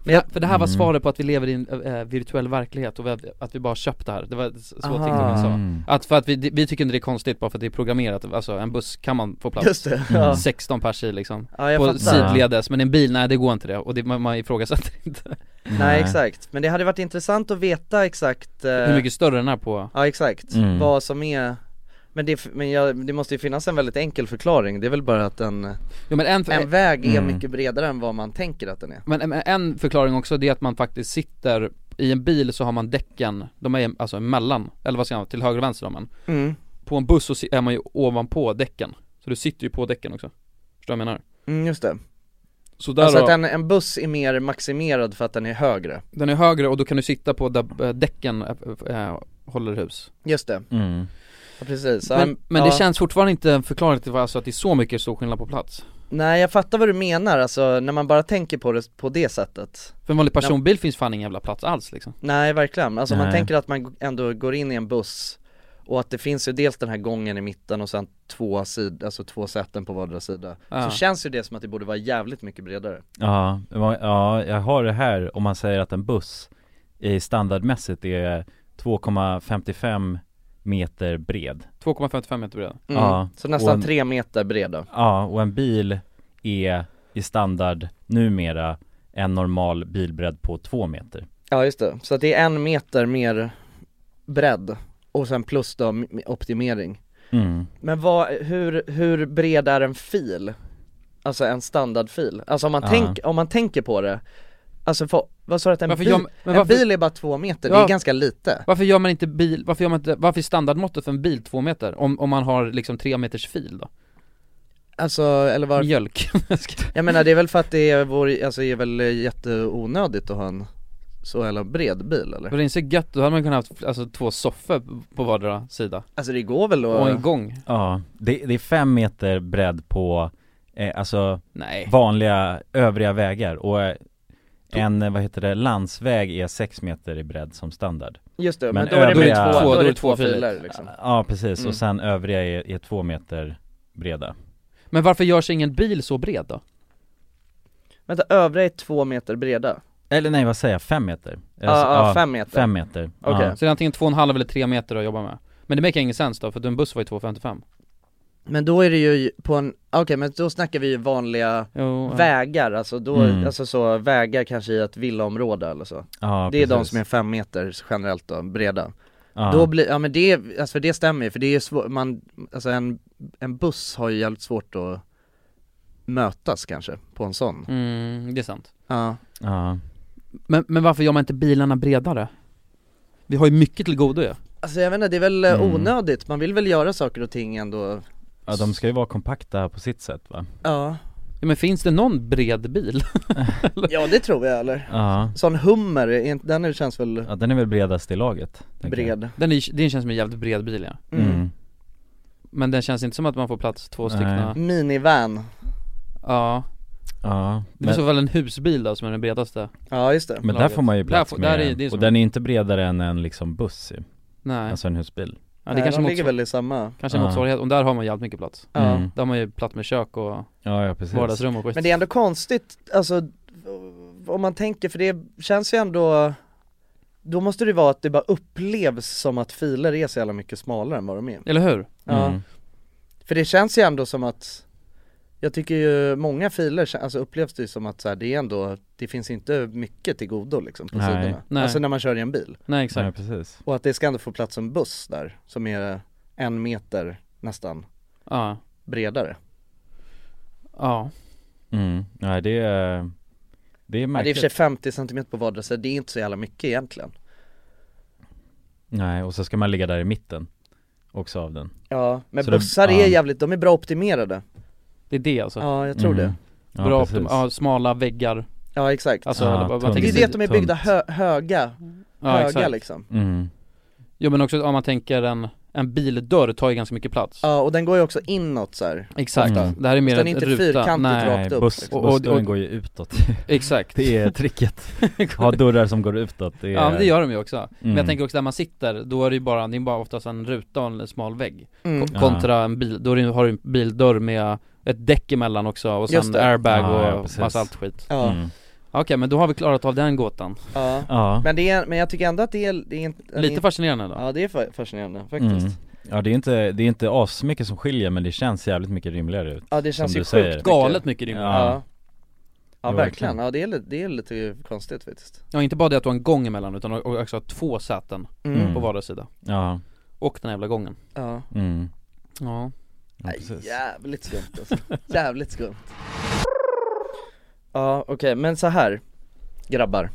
B: Men jag-
C: För det här var
A: Mm.
C: svaret på att vi lever i en eh, virtuell verklighet och vi, att vi bara har köpt det här, det var så
B: Aha.
C: TikTok sa
A: Mm.
C: Att för att vi, vi tycker inte det är konstigt bara för att det är programmerat, alltså en buss kan man få plats
B: Just det,
A: Mm.
B: ja,
C: 16 pers i liksom
B: ja jag
C: På
B: fattar
A: sid-
C: sidledes, men en bil, nej det går inte det och det, man, man ifrågasätter [laughs] inte
B: Nej exakt, men det hade varit intressant att veta exakt eh,
C: Hur mycket större den är på
B: Ja exakt,
A: Mm.
B: vad som är men, det, men jag, det måste ju finnas en väldigt enkel förklaring, det är väl bara att en,
C: Jo men en,
B: en väg är
A: Mm.
B: mycket bredare än vad man tänker att den är
C: men men en förklaring också det är att man faktiskt sitter i en bil så har man däcken, de är alltså emellan, eller vad ska man, till höger och vänster om man
B: Mm,
C: På en buss så si- är man ju ovanpå däcken, så du sitter ju på däcken också Förstår du vad jag menar?
B: mm just det.
C: Så där
B: alltså
C: då,
B: att
C: den...
B: en, en buss är mer maximerad för att den är högre
C: är högre och då kan du sitta på där eh, däcken eh, eh, håller hus
B: Just det,
A: Mm.
B: ja, precis Ja,
C: Men, men
B: ja.
C: det känns fortfarande inte en förklaring till alltså att det är så mycket stor skillnad på plats
B: Nej jag fattar vad du menar, alltså när man bara tänker på det på det sättet
C: För en vanlig personbil finns fan ingen jävla plats alls liksom
B: Nej verkligen, alltså om man
A: Nej.
B: tänker att man ändå går in i en buss och att det finns ju dels den här gången i mitten och sen två sid, alltså två säten på vardera sida
C: Ja.
B: Så känns ju det som att det borde vara jävligt mycket bredare
A: Ja, det var- ja, jag har det här om man säger att en buss i standardmässigt är 2,55 meter bred
C: 2,55 meter bred
B: mm.
A: Ja.
B: Så nästan
A: Och-
B: tre meter breda
A: Ja, och en bil är i standard numera en normal bilbredd på 2 meter
B: Ja just det, så att det är en meter mer bredd och sen plus då m- optimering
A: mm.
B: Men vad, hur, hur bred är en fil? Alltså en standardfil? Alltså om man,
A: Ja.
B: tänk, om man tänker på det Alltså för, vad sa du att en
C: Varför
B: bil,
C: gör- men
B: en
C: varför-
B: bil är bara två meter, det
C: Ja.
B: är ganska lite
C: Varför gör man inte bil, varför gör man inte, varför är standardmåttet för en bil 2 meter? Om, om man har liksom 3 meters fil då?
B: Alltså, eller var,
C: Mjölk [laughs]
B: jag menar det är väl för att det är vår, alltså det är väl jätteonödigt att ha en så eller bred bil
C: För
B: eller?
C: det är så gött, då hade man kunnat haft alltså två soffor på vardera sida
B: Alltså det går väl
C: Och en
B: att,
C: gång?
A: Ja, det, det är 5 meter bredd på eh, alltså
C: Nej
A: vanliga övriga vägar och eh, en, eh, vad heter det, landsväg är 6 meter i bredd som standard
B: just det, men,
A: Men
B: då är det
A: övriga-
B: bara två, då är det två
C: filer.
B: filer liksom
A: Ja precis,
B: Mm.
A: och sen övriga är, är 2 meter breda
C: Men varför görs ingen bil så bred då?
B: Vänta, övriga är två meter breda?
A: Eller nej vad säger jag, 5 meter? Alltså,
B: Ja, ah, fem meter
A: Fem meter,
B: Okej.
A: ja.
C: Så det är antingen 2,5 eller 3 meter att jobba med Men det make ingen sens då, för en buss var ju 2,55
B: Men då är det ju på en, okej men då snackar vi ju vanliga
C: Jo, ja.
B: vägar, alltså då,
A: Mm.
B: alltså så vägar kanske i ett villaområde eller så
A: ja
B: Det är de
A: precis.
B: som är fem meter generellt då, breda
A: ja.
B: Då blir, ja men det, alltså för det stämmer ju, för det är ju svårt, man, alltså en, en buss har ju jävligt svårt att mötas kanske, på en sån
C: mm, det är sant
B: Ja,
A: ja.
C: men, men varför gör man inte bilarna bredare? Vi har ju mycket till godo ju
B: alltså jag vet inte, det är väl eh,
A: Mm.
B: onödigt, man vill väl göra saker och ting ändå
A: ja, de ska ju vara kompakta på sitt sätt va?
B: Ja,
C: ja, men finns det någon bred bil? [laughs]
B: ja det tror jag eller?
A: Ja,
B: Sån hummer, är inte- den känns väl
A: ja den är väl bredast i laget tänker jag.
B: bred Mm.
C: Den, är, den känns som en jävligt bred bil ja
A: Mm.
C: Men den känns inte som att man får plats två
A: Nej.
C: stycken
B: Minivan.
C: Ja,
A: Ja,
C: det finns
A: men,
C: i så fall en husbil då som är den bredaste
B: Ja just det.
A: men där får man ju
C: Där
A: plats
C: får-
A: med
C: där är- det är
A: Och
C: som-
A: den är inte bredare än en liksom buss ju.
C: Nej,
A: alltså en husbil
C: ja, det
B: Nej,
C: kanske
B: de
C: mot,
B: ligger väl i samma.
C: kanske
A: Ja.
C: motsvarighet, och där har man jävligt mycket plats
B: Ja.
A: Mm.
C: Där har man ju plats med kök och
A: Ja, ja precis
C: vardagsrum och skit
B: Men det är ändå konstigt, alltså om man tänker, för det känns ju ändå då måste det vara att det bara upplevs som att filer är så jävla mycket smalare än vad de är.
C: Eller hur?
B: Ja.
A: Mm.
B: För det känns ju ändå som att Jag tycker ju många filer, kä- alltså upplevs det ju som att så här, det är ändå Det finns inte mycket till godo liksom på
A: Nej.
B: sidorna
C: Nej.
B: Alltså när man kör i en bil
C: Nej
A: Ja,
C: exakt
A: precis
B: Och att det ska ändå få plats en buss där som är en meter nästan
C: Ja,
B: bredare
C: ja,
A: mm. Nej det är, det är
B: Men det är i
A: märkligt
B: och för sig 50 centimeter på vardera sida, det är inte så jävla mycket egentligen
A: Nej, och så ska man ligga där i mitten också av den
B: Ja, men
A: Så det-
B: bussar
A: ja.
B: är jävligt, de är bra optimerade
C: det är det alltså
B: Ja, jag tror
A: Mm.
B: det
A: ja,
C: Bra,
A: precis.
C: optim- ja, smala väggar
B: Ja, exakt
C: Alltså,
A: Ja,
C: eller vad- vad
A: tungt.
B: Det är
C: tänker
B: ju
C: du?
B: det att de är byggda
A: Tungt.
B: hö- höga,
C: ja,
B: höga
C: exakt.
B: liksom
A: mm.
C: Jo men också om man tänker en, en bildörr tar ju ganska mycket plats
B: Ja, och den går ju också inåt så här.
C: Exakt,
A: Mm.
C: det här är mer
B: Så den är
C: en
B: inte
C: ruta
B: fyrkantigt
C: Nej,
B: rakt
A: Nej,
B: upp,
A: buss,
B: liksom.
C: Och- och-
A: bussdörren
C: och-
A: går ju utåt
C: [laughs]
A: [laughs]
C: exakt
A: Det är [laughs] tricket, ha dörrar som går utåt det är...
C: [laughs] Ja men det gör de ju också, men
A: Mm.
C: jag tänker också där man sitter, då är det ju bara, det är bara oftast en ruta och en smal vägg
B: Mm.
C: Ko- Kontra en bil, då är det- har du en bildörr med ett däck emellan också och
B: Just
C: sen
B: det.
C: airbag
A: Ja, ja,
C: och
A: precis.
C: massa allt skit
B: Ja,
A: Mm.
C: Okej men då har vi klarat av den gåtan,
B: ja
A: Ja,
B: Men, det är, men jag tycker ändå att det är, det är inte,
C: lite fascinerande då
B: Ja det är fa- fascinerande faktiskt
A: Mm. ja det är inte, det är inte asmycket som skiljer men det känns jävligt mycket rimligare ut
B: Ja det känns
A: Som
B: ju
A: du
B: sjukt
A: säger.
B: mycket.
C: Galet mycket rimligt ja.
A: Ja.
B: Ja, ja
A: Jo,
B: verkligen,
A: verkligen.
B: ja det är, lite, det är lite konstigt faktiskt
C: inte bara det att du har en gång emellan utan och- och också två säten
A: Mm.
C: på vardera sida
A: Ja,
C: Och den jävla gången
B: Ja,
A: mm.
C: Ja
A: ja
B: Nej,
A: precis
B: jävligt skumt alltså. jävligt skumt Ja okej, men så här grabbar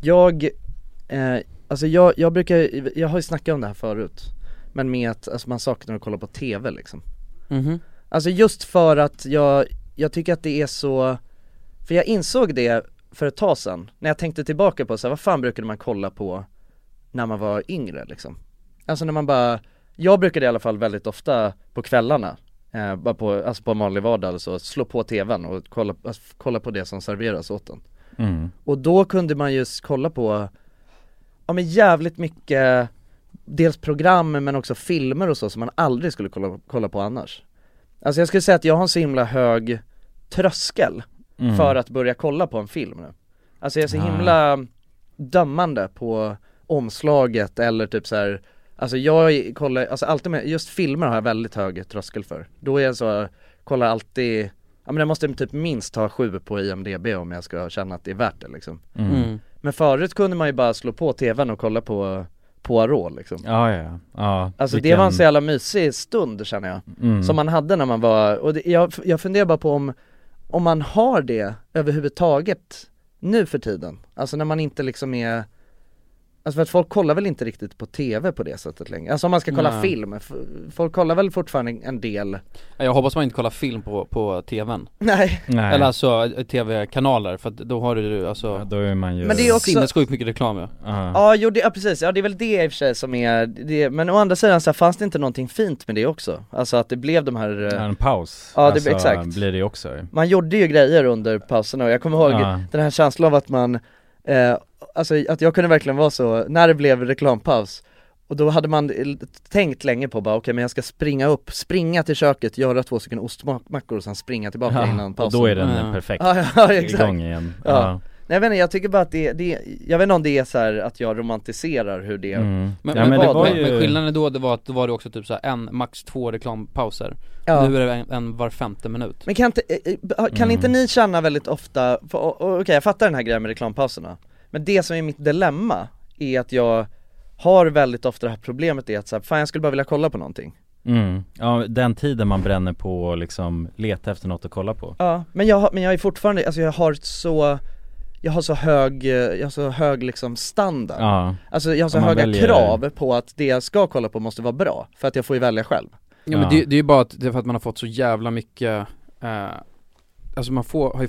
B: Jag, eh, alltså jag, jag brukar, jag har ju snackat om det här förut Men med att, alltså man saknar att kolla på TV liksom
C: Mhm,
B: Alltså just för att jag, jag tycker att det är så, för jag insåg det för ett tag sedan, när jag tänkte tillbaka på så här, vad fan brukade man kolla på när man var yngre liksom? Alltså när man bara, jag brukade i alla fall väldigt ofta på kvällarna, eh, bara på, alltså på en vanlig vardag eller så, slå på tvn och kolla, alltså, kolla på det som serveras åt en.
A: mm.
B: Och då kunde man just kolla på, ja men jävligt mycket, dels program men också filmer och så som man aldrig skulle kolla, kolla på annars. Alltså jag skulle säga att jag har en så himla hög tröskel
A: Mm.
B: för att börja kolla på en film nu. Alltså jag är så
A: Ah.
B: himla dömande på omslaget eller typ så här. Alltså jag kollar, alltså alltid med, just filmer har jag väldigt hög tröskel för. Då är jag så, kollar alltid, ja men jag måste typ minst ha sju på IMDB om jag ska känna att det är värt det liksom.
A: Mm.
C: mm.
B: Men förut kunde man ju bara slå på tvn och kolla på Poirot liksom
A: Ja, ja, ja, ja
B: Alltså det
A: vilken-
B: var en så jävla mysig stund känner jag,
A: mm.
B: som man hade när man var, och det, jag, jag funderar bara på om, om man har det överhuvudtaget nu för tiden, alltså när man inte liksom är Alltså för att folk kollar väl inte riktigt på TV på det sättet längre, alltså om man ska kolla
C: Nej.
B: film, f- folk kollar väl fortfarande
A: [laughs]
B: en del
C: Jag hoppas man inte kollar film på, på tvn
B: Nej,
A: Nej,
C: Eller alltså eh, tv-kanaler, för att då har du ju, alltså
A: ja, då är man ju
B: Men det är också-
C: sinnessjukt mycket reklam ja.
A: ja.
B: ja jo det, ja, precis, ja det är väl det i och för sig som är det, men å andra sidan så här, fanns det inte någonting fint med det också? Alltså att det blev de här eh,
A: En paus, Alltså,
B: Ja, det- exakt.
A: blir det också ju.
B: man gjorde ju grejer under pauserna och jag kommer ihåg
A: Ja.
B: den här känslan av att man, eh, alltså att jag kunde verkligen vara så, när det blev reklampaus och då hade man l- tänkt länge på bara okej men jag ska springa upp, springa till köket, göra två stycken ostmackor och sen springa tillbaka innan
A: och
B: pausen
A: då är den
C: Ja.
A: perfekt
B: ja, ja, exakt.
A: igång igen
B: Ja. Nej jag vet inte, jag tycker bara att det, det jag vet inte om det är så här att jag romantiserar hur det,
A: Mm.
C: Men,
A: ja,
C: men,
A: men det
C: vad,
A: var
C: men,
A: ju...
C: men skillnaden då det var att då var det också typ så här en, max två reklampauser
B: ja.
C: Nu är det en, en var femte minut
B: Men kan inte, eh, eh, kan
A: Mm.
B: inte ni känna väldigt ofta, för- och- och- okej jag fattar den här grejen med reklampauserna, men det som är mitt dilemma är att jag har väldigt ofta det här problemet är att så här, fan jag skulle bara vilja kolla på någonting.
A: mm. Ja, den tiden man bränner på och liksom leta efter något att kolla på
B: Ja, men jag, har- men jag är fortfarande, alltså jag har så, jag har så hög, eh, jag har så hög liksom standard.
A: Ja,
B: Alltså jag har så
A: Om man
B: höga
A: väljer-
B: krav på att det jag ska kolla på måste vara bra, för att jag får ju välja själv.
C: Ja men
A: Ja.
C: det, det är ju bara att, det är för att man har fått så jävla mycket eh, Alltså man får, har ju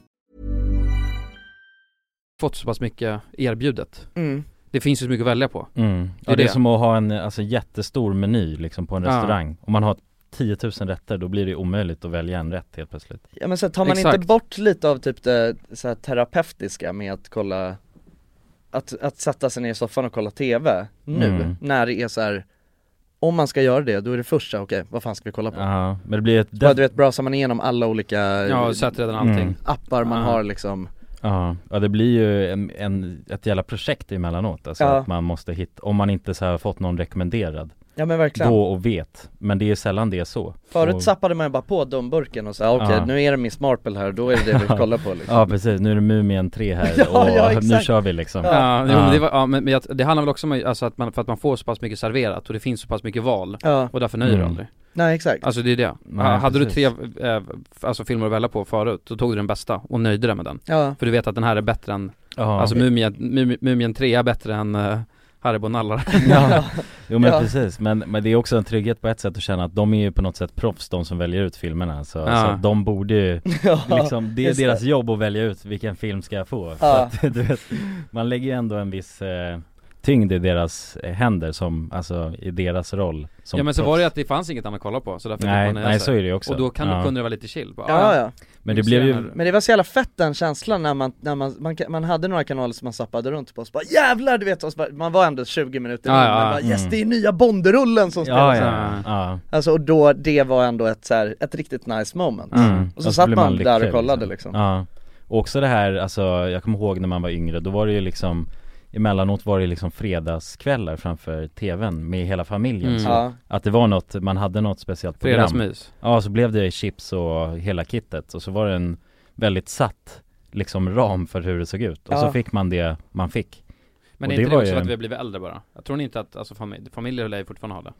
C: fått så pass mycket erbjudet
B: Mm.
C: Det finns ju så mycket att välja på
A: Mm.
C: Det är
A: Ja, det är
C: det.
A: som att ha en alltså, jättestor meny liksom på en
C: Ja.
A: restaurang. Om man har 10 000 rätter då blir det omöjligt att välja en rätt helt plötsligt.
B: Ja men så här, tar man
C: Exakt.
B: inte bort lite av typ det så här, terapeutiska med att kolla att, att sätta sig ner i soffan och kolla TV nu
A: Mm.
B: när det är så här om man ska göra det då är det först så här, okej vad fan ska vi kolla på?
A: Ja, men det blir ett...
B: Ja, du vet brasar man igenom alla olika
C: Ja, sett redan allting
A: Mm.
B: appar man
C: Ah.
B: har liksom
A: Ja, ja det blir ju en, en, ett jävla projekt emellanåt alltså
B: Ja.
A: att man måste hitta, om man inte så här har fått någon rekommenderad
B: Ja men verkligen
A: då och vet, men det är sällan det är så
B: Förut
A: Och-
B: zappade man ju bara på dumburken och sa okej
A: Ja.
B: nu är det Miss Marple här, då är det det
A: [laughs]
B: vi kollar på liksom
A: Ja precis, nu är det Mumien 3 här
B: [laughs] Ja,
A: och [laughs]
B: ja,
A: nu
B: exakt.
A: kör vi liksom
B: Ja.
A: Ja,
C: Ja, jo,
A: Ja.
C: men det, var, ja, men men jag, det handlar väl också om alltså, att man, för att man får så pass mycket serverat och det finns så pass mycket val
B: Ja,
C: och därför nöjer du
A: Mm.
C: aldrig
B: nej exakt
C: Alltså det är det.
A: Nej,
C: Ha- hade
A: precis.
C: du tre eh, f- alltså, filmer att välja på förut, då tog du den bästa och nöjde dig med den
B: Ja,
C: För du vet att den här är bättre än, alltså Mumien, Mumi- Mumien 3 är bättre än uh, Haribo nallar
A: ja. Jo men
B: Ja.
A: precis, men, men det är också en trygghet på ett sätt att känna att de är ju på något sätt proffs de som väljer ut filmerna så,
C: Ja.
A: så att de borde ju
B: ja,
A: [laughs] liksom, det är
B: just det.
A: deras jobb att välja ut vilken film ska jag få så
B: Ja.
A: att, [laughs] du vet, Man lägger ju ändå en viss eh, tyngd i deras eh, händer som, alltså i deras roll som
C: [laughs] Ja men så
A: proffs.
C: var det ju att det fanns inget annat att kolla på så därför
A: Nej,
C: fick man nöja
A: nej
C: sig.
A: så är det ju också
C: Och då kan,
A: ja.
C: kunde det vara lite chill, bara,
B: ja, ja.
A: Men det blev ju,
C: Men-
B: Men det var så jävla fett den känslan när man, när man, man, man hade några kanaler som man zappade runt på, så bara jävlar du vet, och så bara, man var ändå 20 minuter in,
C: Ja,
B: man
C: ja,
B: bara
C: ja.
B: yes
A: Mm.
B: det är nya Bonderullen som
A: ja
B: spelas
A: ja, ja.
B: Alltså och då, det var ändå ett så här, ett riktigt nice moment
A: Mm.
B: Och så satt
A: blir
B: man där och kollade liksom.
A: Ja. Och också det här, alltså jag kommer ihåg när man var yngre, då var det ju liksom Emellanåt var det liksom fredagskvällar framför tvn med hela familjen
C: Mm.
A: så
B: liksom. Ja,
A: Att det var något, man hade något speciellt program
C: Fredagsmys
A: Ja så blev det chips och hela kittet och så var det en väldigt satt liksom ram för hur det såg ut och
B: Ja.
A: så fick man det man fick
C: Men
A: Och
C: är inte
A: det
C: det
A: var
C: också
A: ju-
C: för att vi har blivit äldre bara? Jag tror inte att, alltså familj, familjer lär ju fortfarande ha det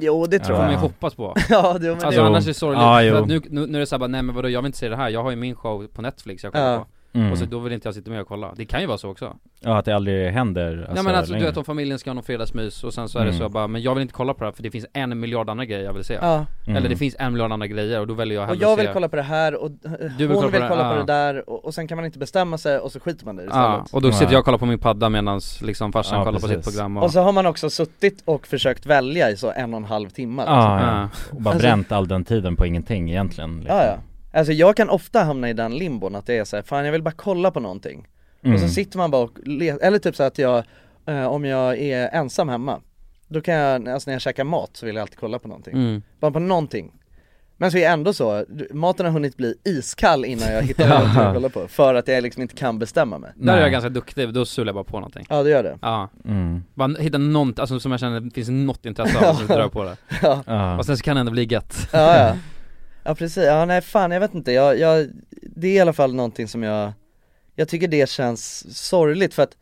B: jo det
A: Ja.
B: tror
C: får man ju
B: jag
A: [laughs]
C: hoppas på
B: [laughs] Ja, det, men
A: Jo.
C: Alltså
B: det,
C: annars är det sorgligt,
A: Ja,
C: för
A: jo.
C: att nu, nu, nu är det såhär bara, nej men vadå jag vill inte se det här, jag har ju min show på Netflix jag kollar
B: Ja.
C: på
A: mm.
C: Och så då vill inte jag sitta med och kolla, det kan ju vara så också
A: Ja att det aldrig händer
C: Nej men alltså du
A: längre.
C: vet om familjen ska ha någon fredagsmys och sen så är det
A: Mm.
C: så bara, men jag vill inte kolla på det här för det finns en miljard andra grejer jag vill se
B: ja.
A: Mm.
C: Eller det finns en miljard andra grejer och då väljer jag
B: Och
C: hellre
B: jag vill
C: se...
B: kolla på det här och
C: vill kolla
B: hon
C: på
B: vill
C: det-
B: kolla på
C: ja.
B: det där och, och sen kan man inte bestämma sig och så skiter man i det
C: Ja,
B: istället
C: och då sitter
A: Nej.
C: jag och kollar på min padda medan liksom farsan
A: Ja,
C: kollar på sitt
A: precis.
C: program och,
B: Och så har man också suttit och försökt välja i så en och en halv timme liksom.
A: Ja, ja.
C: Ja.
A: och bara
B: Alltså-
A: bränt all den tiden på ingenting egentligen liksom.
B: Ja, ja. Alltså jag kan ofta hamna i den limbon att det är så här, fan jag vill bara kolla på någonting
A: Mm.
B: Och så sitter man bara och le- eller typ så att jag, eh, om jag är ensam hemma Då kan jag, alltså när jag käkar mat så vill jag alltid kolla på någonting,
C: Mm.
B: bara på någonting Men så är jag ändå så, du- maten har hunnit bli iskall innan jag hittar
A: [laughs] Ja.
B: någonting att kolla på För att jag liksom inte kan bestämma mig
C: Där är
A: Nej.
C: jag ganska duktig, då sular jag bara på någonting
B: Ja det gör det
C: Ja,
A: mm.
C: bara hitta någonting, alltså som jag känner det finns något intresse
B: [laughs]
C: av och så drar jag på det
A: ja.
C: Och sen så kan det ändå bli gött
B: Ja ja, ja precis, ja nej fan jag vet inte, jag, jag, det är i alla fall någonting som jag, jag tycker det känns sorgligt för att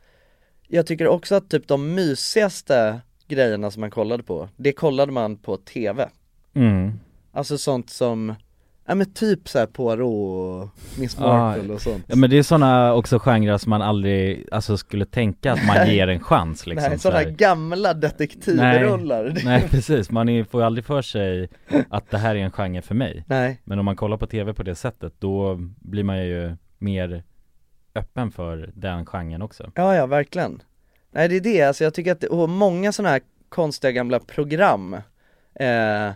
B: jag tycker också att typ de mysigaste grejerna som man kollade på, det kollade man på TV
A: Mm.
B: Alltså sånt som, ja men typ såhär Poirot och Miss Marple och sånt
A: Ah, Ja men det är sådana också genrer som man aldrig, alltså skulle tänka att man ger en chans liksom
B: Nej,
A: så
B: sådana
A: här.
B: gamla detektivrullar Nej,
A: Nej precis, man är, får ju aldrig för sig att det här är en genre för mig
B: nej.
A: Men om man kollar på tv på det sättet då blir man ju mer öppen för den genren också
B: Ja, ja, verkligen. Nej, det är det, alltså jag tycker att, och många sådana här konstiga gamla program eh,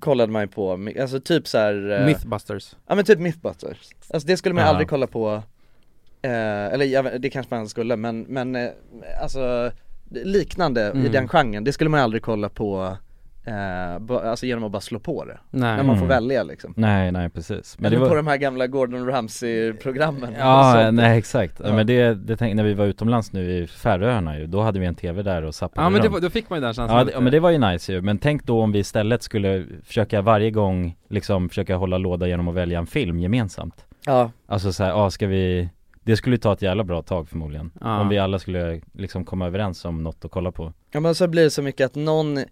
B: kollade man ju på, My- alltså typ så här, eh,
C: Mythbusters
B: ja men typ Mythbusters. Alltså det skulle man ju
A: Ja.
B: aldrig kolla på, eh, eller jag, vet- det kanske man skulle, men, men eh, alltså liknande i
C: Mm.
B: den genren, det skulle man ju aldrig kolla på, eh, ba, alltså genom att bara slå på det,
C: Nej
B: när man får
A: Mm.
B: välja liksom.
A: Nej, nej precis
B: Men Eller på de här gamla Gordon Ramsay-programmen och
A: Ja,
B: sånt.
A: nej exakt. Ja.
B: Ja.
A: Men det, det tänkte, när vi var utomlands nu i Färöarna ju, då hade vi en tv där och zappade
C: Ja men det,
A: runt.
C: var- då fick man ju den känslan
A: Ja, det,
C: Alltså, lite.
A: ja men det var ju nice ju, men tänk då om vi istället skulle försöka varje gång liksom försöka hålla låda genom att välja en film gemensamt
B: Ja,
A: Alltså såhär, ja ska vi, det Det skulle ju ta ett jävla bra tag förmodligen
C: Ja.
A: Om vi alla skulle liksom komma överens om något att kolla på
B: Ja men så blir det så mycket att någon är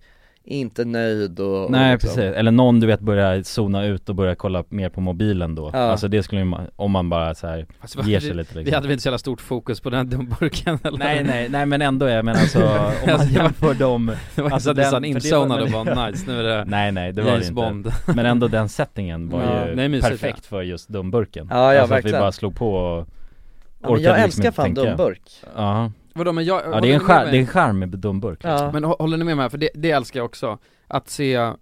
B: inte nöjd och
A: Nej
B: och liksom-
A: precis, eller någon du vet börjar zona ut och börjar kolla mer på mobilen då
B: Ja.
A: Alltså det skulle ju, ma- om man bara så
C: [laughs]
A: här
C: Fast
A: ger
C: vi-
A: sig lite
C: Vi
A: liksom.
C: hade väl inte så jävla stort fokus på den dumburken eller?
A: Nej nej, nej men ändå jag menar alltså om
C: [laughs]
A: man
C: Alltså, det var-
A: jämför dem
C: Det var
A: Alltså
C: alltså inte så att
A: den-
C: vi
A: för det
C: satt insonade
A: var-
C: och bara nice, nu är det
A: [laughs] Nej nej det var det
C: James
A: inte
C: Bond
A: Men ändå den settingen var
C: Ja,
A: ju
C: det är mysigt,
A: perfekt för just dumburken
B: Ja, ja,
A: Alltså att vi
B: verkligen.
A: bara slog på och
B: ja, men
A: orkade
B: Jag
A: liksom
B: älskar
A: inte
B: fan
A: tänka.
B: Dumburk
A: Ja,
C: [laughs] Vadå men jag,
A: ja
C: håller
A: det är
C: ni
A: en
C: med
A: charm,
C: mig?
A: det är en charm med dumburk liksom.
B: ja.
C: Men hå- håller ni med mig? För det, det älskar jag också, att se eh,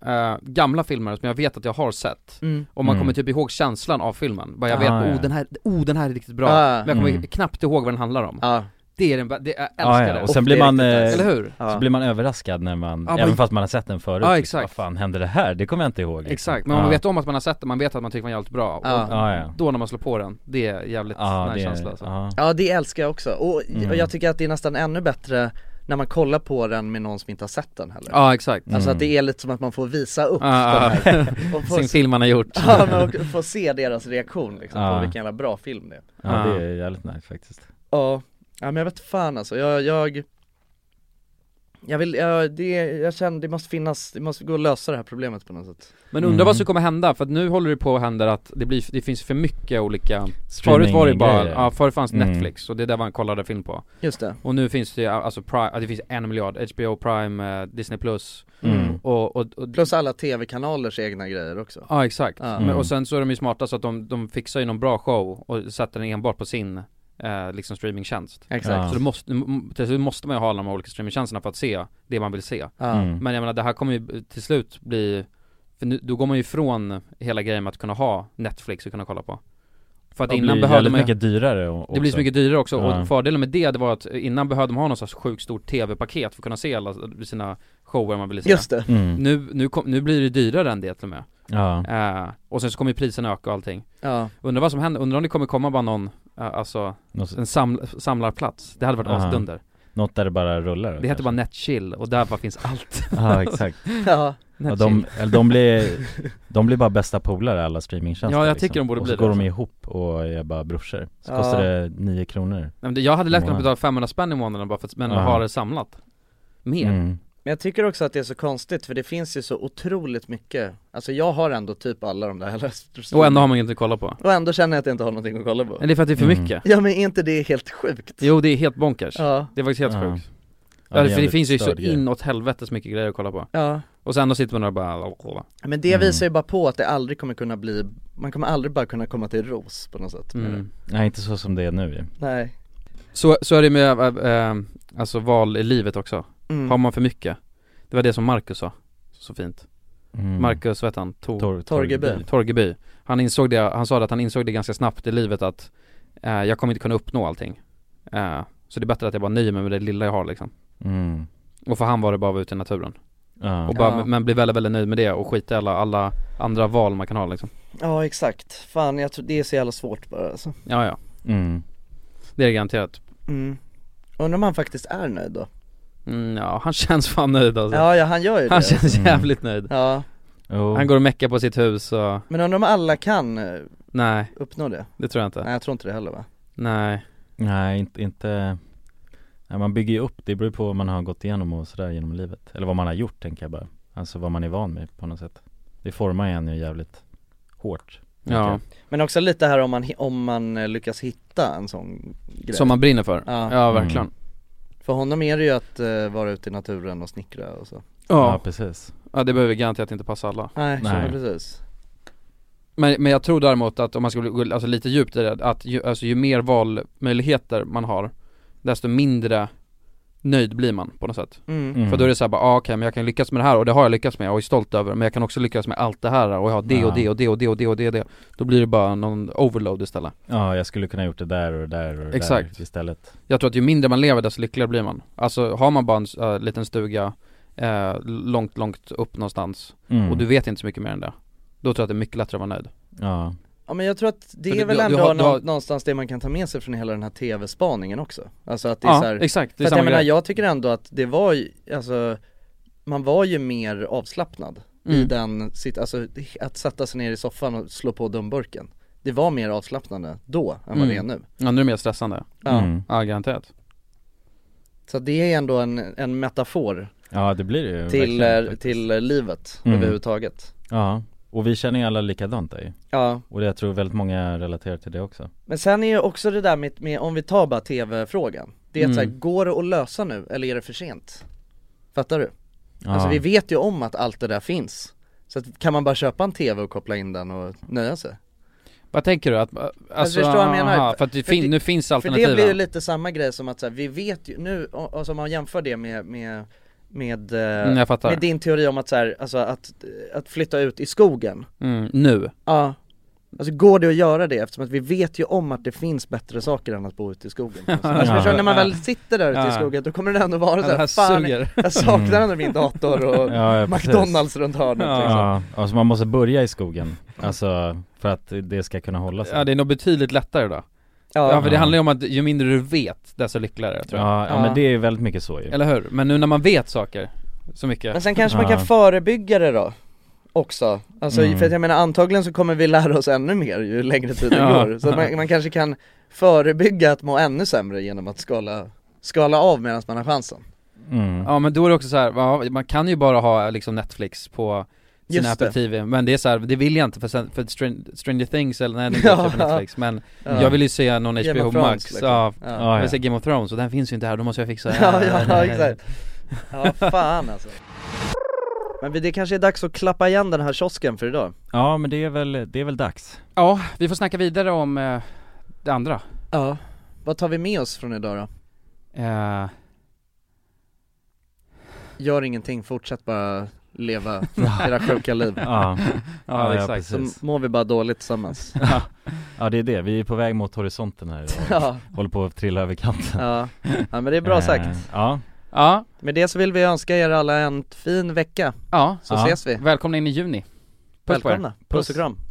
C: gamla filmer som jag vet att jag har sett
B: mm.
C: och man
A: Mm.
C: kommer typ ihåg känslan av filmen, bara jag
A: Ah,
C: vet,
A: ja.
C: oh den här, oh den här är riktigt bra,
B: Ah.
C: men jag kommer
A: Mm. Ah,
C: knappt ihåg vad den handlar om
B: ja.
C: Det är den, bä- det, jag älskar
A: ja, ja,
C: det,
A: och sen
B: Och
A: blir
B: det är
A: man,
B: riktigt nice.
A: eh,
C: eller hur?
B: Ja.
A: så blir man överraskad när man,
C: Ja,
A: även
C: men-
A: fast man har sett den förut
C: Ja,
A: liksom,
C: exakt.
A: Vad fan hände det här? Det kommer jag inte ihåg liksom.
C: Exakt, men om
A: ja.
C: man vet om att man har sett den, man vet att man tycker den var jävligt bra, och
B: Ja.
A: Ah. Ja, ja.
C: då när man slår på den, det är jävligt
A: Ja,
C: nice
A: det, ah.
C: känsla alltså.
A: ja.
B: ja det älskar jag också och j-
A: Mm.
B: och jag tycker att det är nästan ännu bättre när man kollar på den med någon som inte har sett den heller
C: Ja exakt,
B: Alltså
A: Mm.
B: att det är lite som att man får visa upp
C: Ah,
B: den här och
A: [laughs]
B: få,
C: sin film man har [laughs] gjort
B: [laughs] ja, men och få se deras reaktion liksom,
A: Ja.
B: på vilken jävla bra film det är
A: ja, det är jävligt nice faktiskt
B: Ja, ja men jag vet fan alltså, jag, jag jag vill, jag, det, jag känner det måste finnas, det måste gå att lösa det här problemet på något sätt
C: Men undrar
A: Mm.
C: vad som kommer hända, för att nu håller det på att hända att det, blir, det finns för mycket olika Förut var det bara,
A: Streaminggrejer.
C: ja förut fanns
A: Mm.
C: Netflix och det är där man kollade film på
B: Just det
C: Och nu finns det ju, alltså Prime, ja, det finns en miljard, HBO Prime, eh, Disney Plus
A: Mm.
C: och, och, och
B: Plus alla tv-kanalers egna grejer också
C: Ja exakt,
B: Ja.
C: Men,
A: Mm.
C: och sen så är de ju smarta så att de, de fixar ju någon bra show och sätter den enbart på sin eh, liksom streamingtjänst
A: Ja.
B: Exakt
C: Så då måste, m- till slut måste man ju ha alla de här olika streamingtjänsterna för att se det man vill se
B: ja.
A: Mm.
C: Men jag menar det här kommer ju till slut bli, för nu, då går man ju ifrån hela grejen med att kunna ha Netflix och kunna kolla på För att
A: Det
C: innan
A: blir
C: behövde
A: jävligt
C: man ju
A: mycket dyrare o- också.
C: Det blir så mycket dyrare också
A: Ja.
C: och fördelen med det, det var att innan behövde man ha någon sorts sjukt stort tv-paket för att kunna se alla sina shower man ville se
B: Just det,
A: mm.
C: Nu, nu, kom, nu blir det dyrare än det till och med
A: Ja,
C: Eh, Och sen så kommer ju priserna öka och allting
B: ja,
C: Undrar vad som händer, undrar om det kommer komma bara någon, eh, alltså
A: något,
C: en saml- samlarplats Det hade varit
A: Ja.
C: asdunder
A: något där det bara rullar då,
C: Det heter
A: kanske.
C: bara netchill och där bara finns allt
A: Ja exakt,
C: [laughs]
B: ja,
A: ja,
C: Netchill.
A: de, eller de blir, de blir bara bästa polare alla streamingtjänster liksom.
C: Ja, jag tycker de borde
A: Och
C: bli
A: så
C: det alltså.
A: går de
C: också.
A: ihop och är bara brorsor, så
B: Ja.
A: kostar det 9 kronor
C: Nej, men det- Jag hade lätt kunnat
A: Månad.
C: betala 500 spänn i månaden bara för att, men
A: Ja.
C: ha det samlat Mer
A: mm.
B: men jag tycker också att det är så konstigt för det finns ju så otroligt mycket Alltså jag har ändå typ alla de där [laughs] eller-
C: Och ändå har man ju inte att kolla på
B: Och ändå känner jag att jag inte har någonting att kolla
C: Men
B: på
C: det är för att det är för
A: Mm.
C: mycket
B: Ja men är inte det helt sjukt?
C: Jo det är helt bonkers
B: Ja,
C: Det är faktiskt helt
A: Ja.
C: sjukt
A: är
C: Ja, för det
A: jävligt
C: finns ju så
A: störd grej.
C: inåt helvetes mycket grejer att kolla på
B: ja
C: Och sen då sitter man där och bara
B: Men det
A: Mm.
B: visar ju bara på att det aldrig kommer kunna bli, man kommer aldrig bara kunna komma till ros på något sätt med det.
C: mm.
A: Nej inte så som det är nu ju.
B: Nej
C: så, så är det med, äh, äh, alltså val i livet också
B: mm.
C: Har man för mycket? Det var det som Marcus sa, så fint
A: mm.
C: Marcus, vad hette han? Tor-
A: Tor-
B: Torgeby.
C: Torgeby Han insåg det, han sa det att han insåg det ganska snabbt i livet att eh, Jag kommer inte kunna uppnå allting Eh, Så det är bättre att jag bara nöjer mig med det lilla jag har liksom
A: Mm.
C: Och för han var det bara att vara ute i naturen
A: Ja.
C: och bara,
B: Ja.
C: Men bli väldigt, väldigt nöjd med det och skita i alla, alla andra val man kan ha liksom
B: Ja exakt, fan jag tror det är så jävla svårt bara alltså.
C: Ja ja,
A: Mm.
C: det är garanterat
B: mm. Undrar om han faktiskt är nöjd då?
C: mm, Ja, han [laughs] känns fan nöjd alltså
B: Ja, ja han gör ju
C: Han
B: det
C: känns
A: Mm.
C: jävligt nöjd
B: Ja,
A: Jo.
C: Han går och meckar på sitt hus och,
B: men undrar om alla kan eh,
C: nej
B: uppnå det?
C: det tror jag inte
B: Nej jag tror inte det heller va?
C: Nej,
A: Nej inte, inte Nej, man bygger ju upp, det beror ju på vad man har gått igenom och sådär genom livet Eller vad man har gjort tänker jag bara Alltså vad man är van med på något sätt Det formar en ju jävligt hårt tänker
C: ja,
A: jag.
B: Men också lite här om man, hi- om man eh, lyckas hitta en sån grej
C: som man brinner för
B: Ja.
C: Ja, verkligen
A: Mm.
B: För honom är det ju att eh, vara ute i naturen och snickra och så
A: Ja,
C: Ja.
A: precis
C: ja, det behöver garanterat inte passa alla
B: Nej,
A: Nej.
B: Nej. precis
C: men, men jag tror däremot att om man skulle gå alltså, lite djupt i det, att ju, alltså, ju mer valmöjligheter man har Desto mindre nöjd blir man på något sätt
B: mm.
A: Mm.
C: För då är det såhär bara, ah, okej men jag kan lyckas med det här och det har jag lyckats med och är stolt över Men jag kan också lyckas med allt det här och jag har det och det och det och det och det och det, och det. Då blir det bara någon overload istället
A: Ja jag skulle kunna gjort det där och det där och det
C: Exakt.
A: där istället
C: Jag tror att ju mindre man lever desto lyckligare blir man Alltså har man bara en s- eh, liten stuga eh, långt, långt upp någonstans
A: mm.
C: och du vet inte så mycket mer än det Då tror jag att det är mycket lättare att vara nöjd
A: Ja,
B: Ja men jag tror att det
C: För du-
B: är väl
C: du- du
B: ändå
C: har- du
B: nå-
C: har-
B: någonstans det man kan ta med sig från hela den här tv-spaningen också Alltså att det är så här,
C: exakt, det
B: för
C: är
B: att jag
C: samma
B: menar
C: grej
B: jag tycker ändå att det var ju, alltså Man var ju mer avslappnad i
C: Mm.
B: den, sitt, alltså att sätta sig ner i soffan och slå på dumburken det var mer avslappnande då än vad det är
C: Mm.
B: nu.
C: Ja nu är det mer stressande,
B: Ja.
A: Mm.
C: ja garanterat
B: Så det är ändå en, en metafor
A: Ja det blir det ju
B: till,
A: verkligen,
B: eh,
A: faktiskt.
B: till eh, livet
A: Mm.
B: överhuvudtaget.
A: Ja, och vi känner ju alla likadant där ju
B: Ja,
A: Och jag tror väldigt många relaterar till det också
B: men sen är ju också det där med, med om vi tar bara tv-frågan. Det är
C: Mm.
B: så här, går det att lösa nu eller är det för sent? Fattar du?
A: ja.
B: Alltså vi vet ju om att allt det där finns. Så att, kan man bara köpa en tv och koppla in den och nöja sig?
C: Vad tänker du? Att, alltså,
B: förstår vad jag menar.
C: aha, för att det
B: För
C: fin-
B: det-
C: nu finns
B: För det
C: alternativen
B: blir ju lite samma grej som att så här, vi vet ju nu, och, och som man jämför det med, med, med, eh,
C: mm, jag fattar,
B: med din teori om att så här, alltså att, att flytta ut i skogen.
C: mm, nu
B: Ja. Alltså går det att göra det eftersom att vi vet ju om att det finns bättre saker än att bo ute
C: [laughs]
B: i skogen. Alltså,
C: Ja.
B: förstår du, när man
C: Ja.
B: väl sitter där ute i
C: Ja.
B: skogen då kommer det ändå vara
C: ja, det här
B: såhär, fan
C: suger
B: jag saknar ändå min dator och
A: Ja,
B: [laughs]
A: ja, precis.
B: McDonalds runt hörnet
C: Ja.
B: liksom.
A: Ja, alltså man måste börja i skogen Alltså för att det ska kunna hålla sig
C: Ja det är nog betydligt lättare då Ja, för det
A: Ja.
C: handlar ju om att ju mindre du vet desto lyckligare tror jag
A: ja, ja, men det är ju väldigt mycket så ju
C: Eller hur? Men nu när man vet saker så mycket
B: Men sen kanske man
A: Ja.
B: kan förebygga det då också, alltså
A: Mm.
B: för att jag menar antagligen så kommer vi lära oss ännu mer ju längre tiden
C: Ja.
B: går Så att man, man kanske kan förebygga att må ännu sämre genom att skala, skala av medan man har chansen
A: mm.
C: Ja men då är det också så här, ja, man kan ju bara ha liksom Netflix på sin
B: Just
C: Apple
B: det.
C: TV, men det är så här, det vill jag inte för, sen, för Str- Stranger Things eller nej det är
B: [laughs] Ja.
C: inte på Netflix men jag vill ju se någon
B: Game
C: HBO
B: of Thrones,
C: Max,
B: liksom.
C: ja,
B: Ja.
A: Ja,
C: jag
A: ja.
C: vill se Game of Thrones och den finns ju inte här, då måste jag fixa
B: [laughs] Ja, ja, ja exakt. Ja, fan alltså. Men det kanske är dags att klappa igen den här kiosken för idag.
A: ja men det är väl, det är väl dags
C: Ja, vi får snacka vidare om eh, det andra
B: Ja. Vad tar vi med oss från idag då?
C: eh,
B: Gör ingenting, fortsätt bara leva era sjuka liv.
A: Ja, ja,
C: Ja, exakt
B: Så
A: precis.
B: mår vi bara dåligt tillsammans.
A: [laughs] ja det är det, vi är på väg mot horisonten här
B: [laughs]
A: idag
B: Ja,
A: Håller på att trilla över kanten
B: ja. ja men det är bra sagt.
A: Eh, Ja,
C: Ja,
B: Med det så vill vi önska er alla en fin vecka,
C: ja,
B: så
A: Ja.
B: ses vi.
C: välkomna in i juni Puss på er.
B: Välkomna, puss och kram.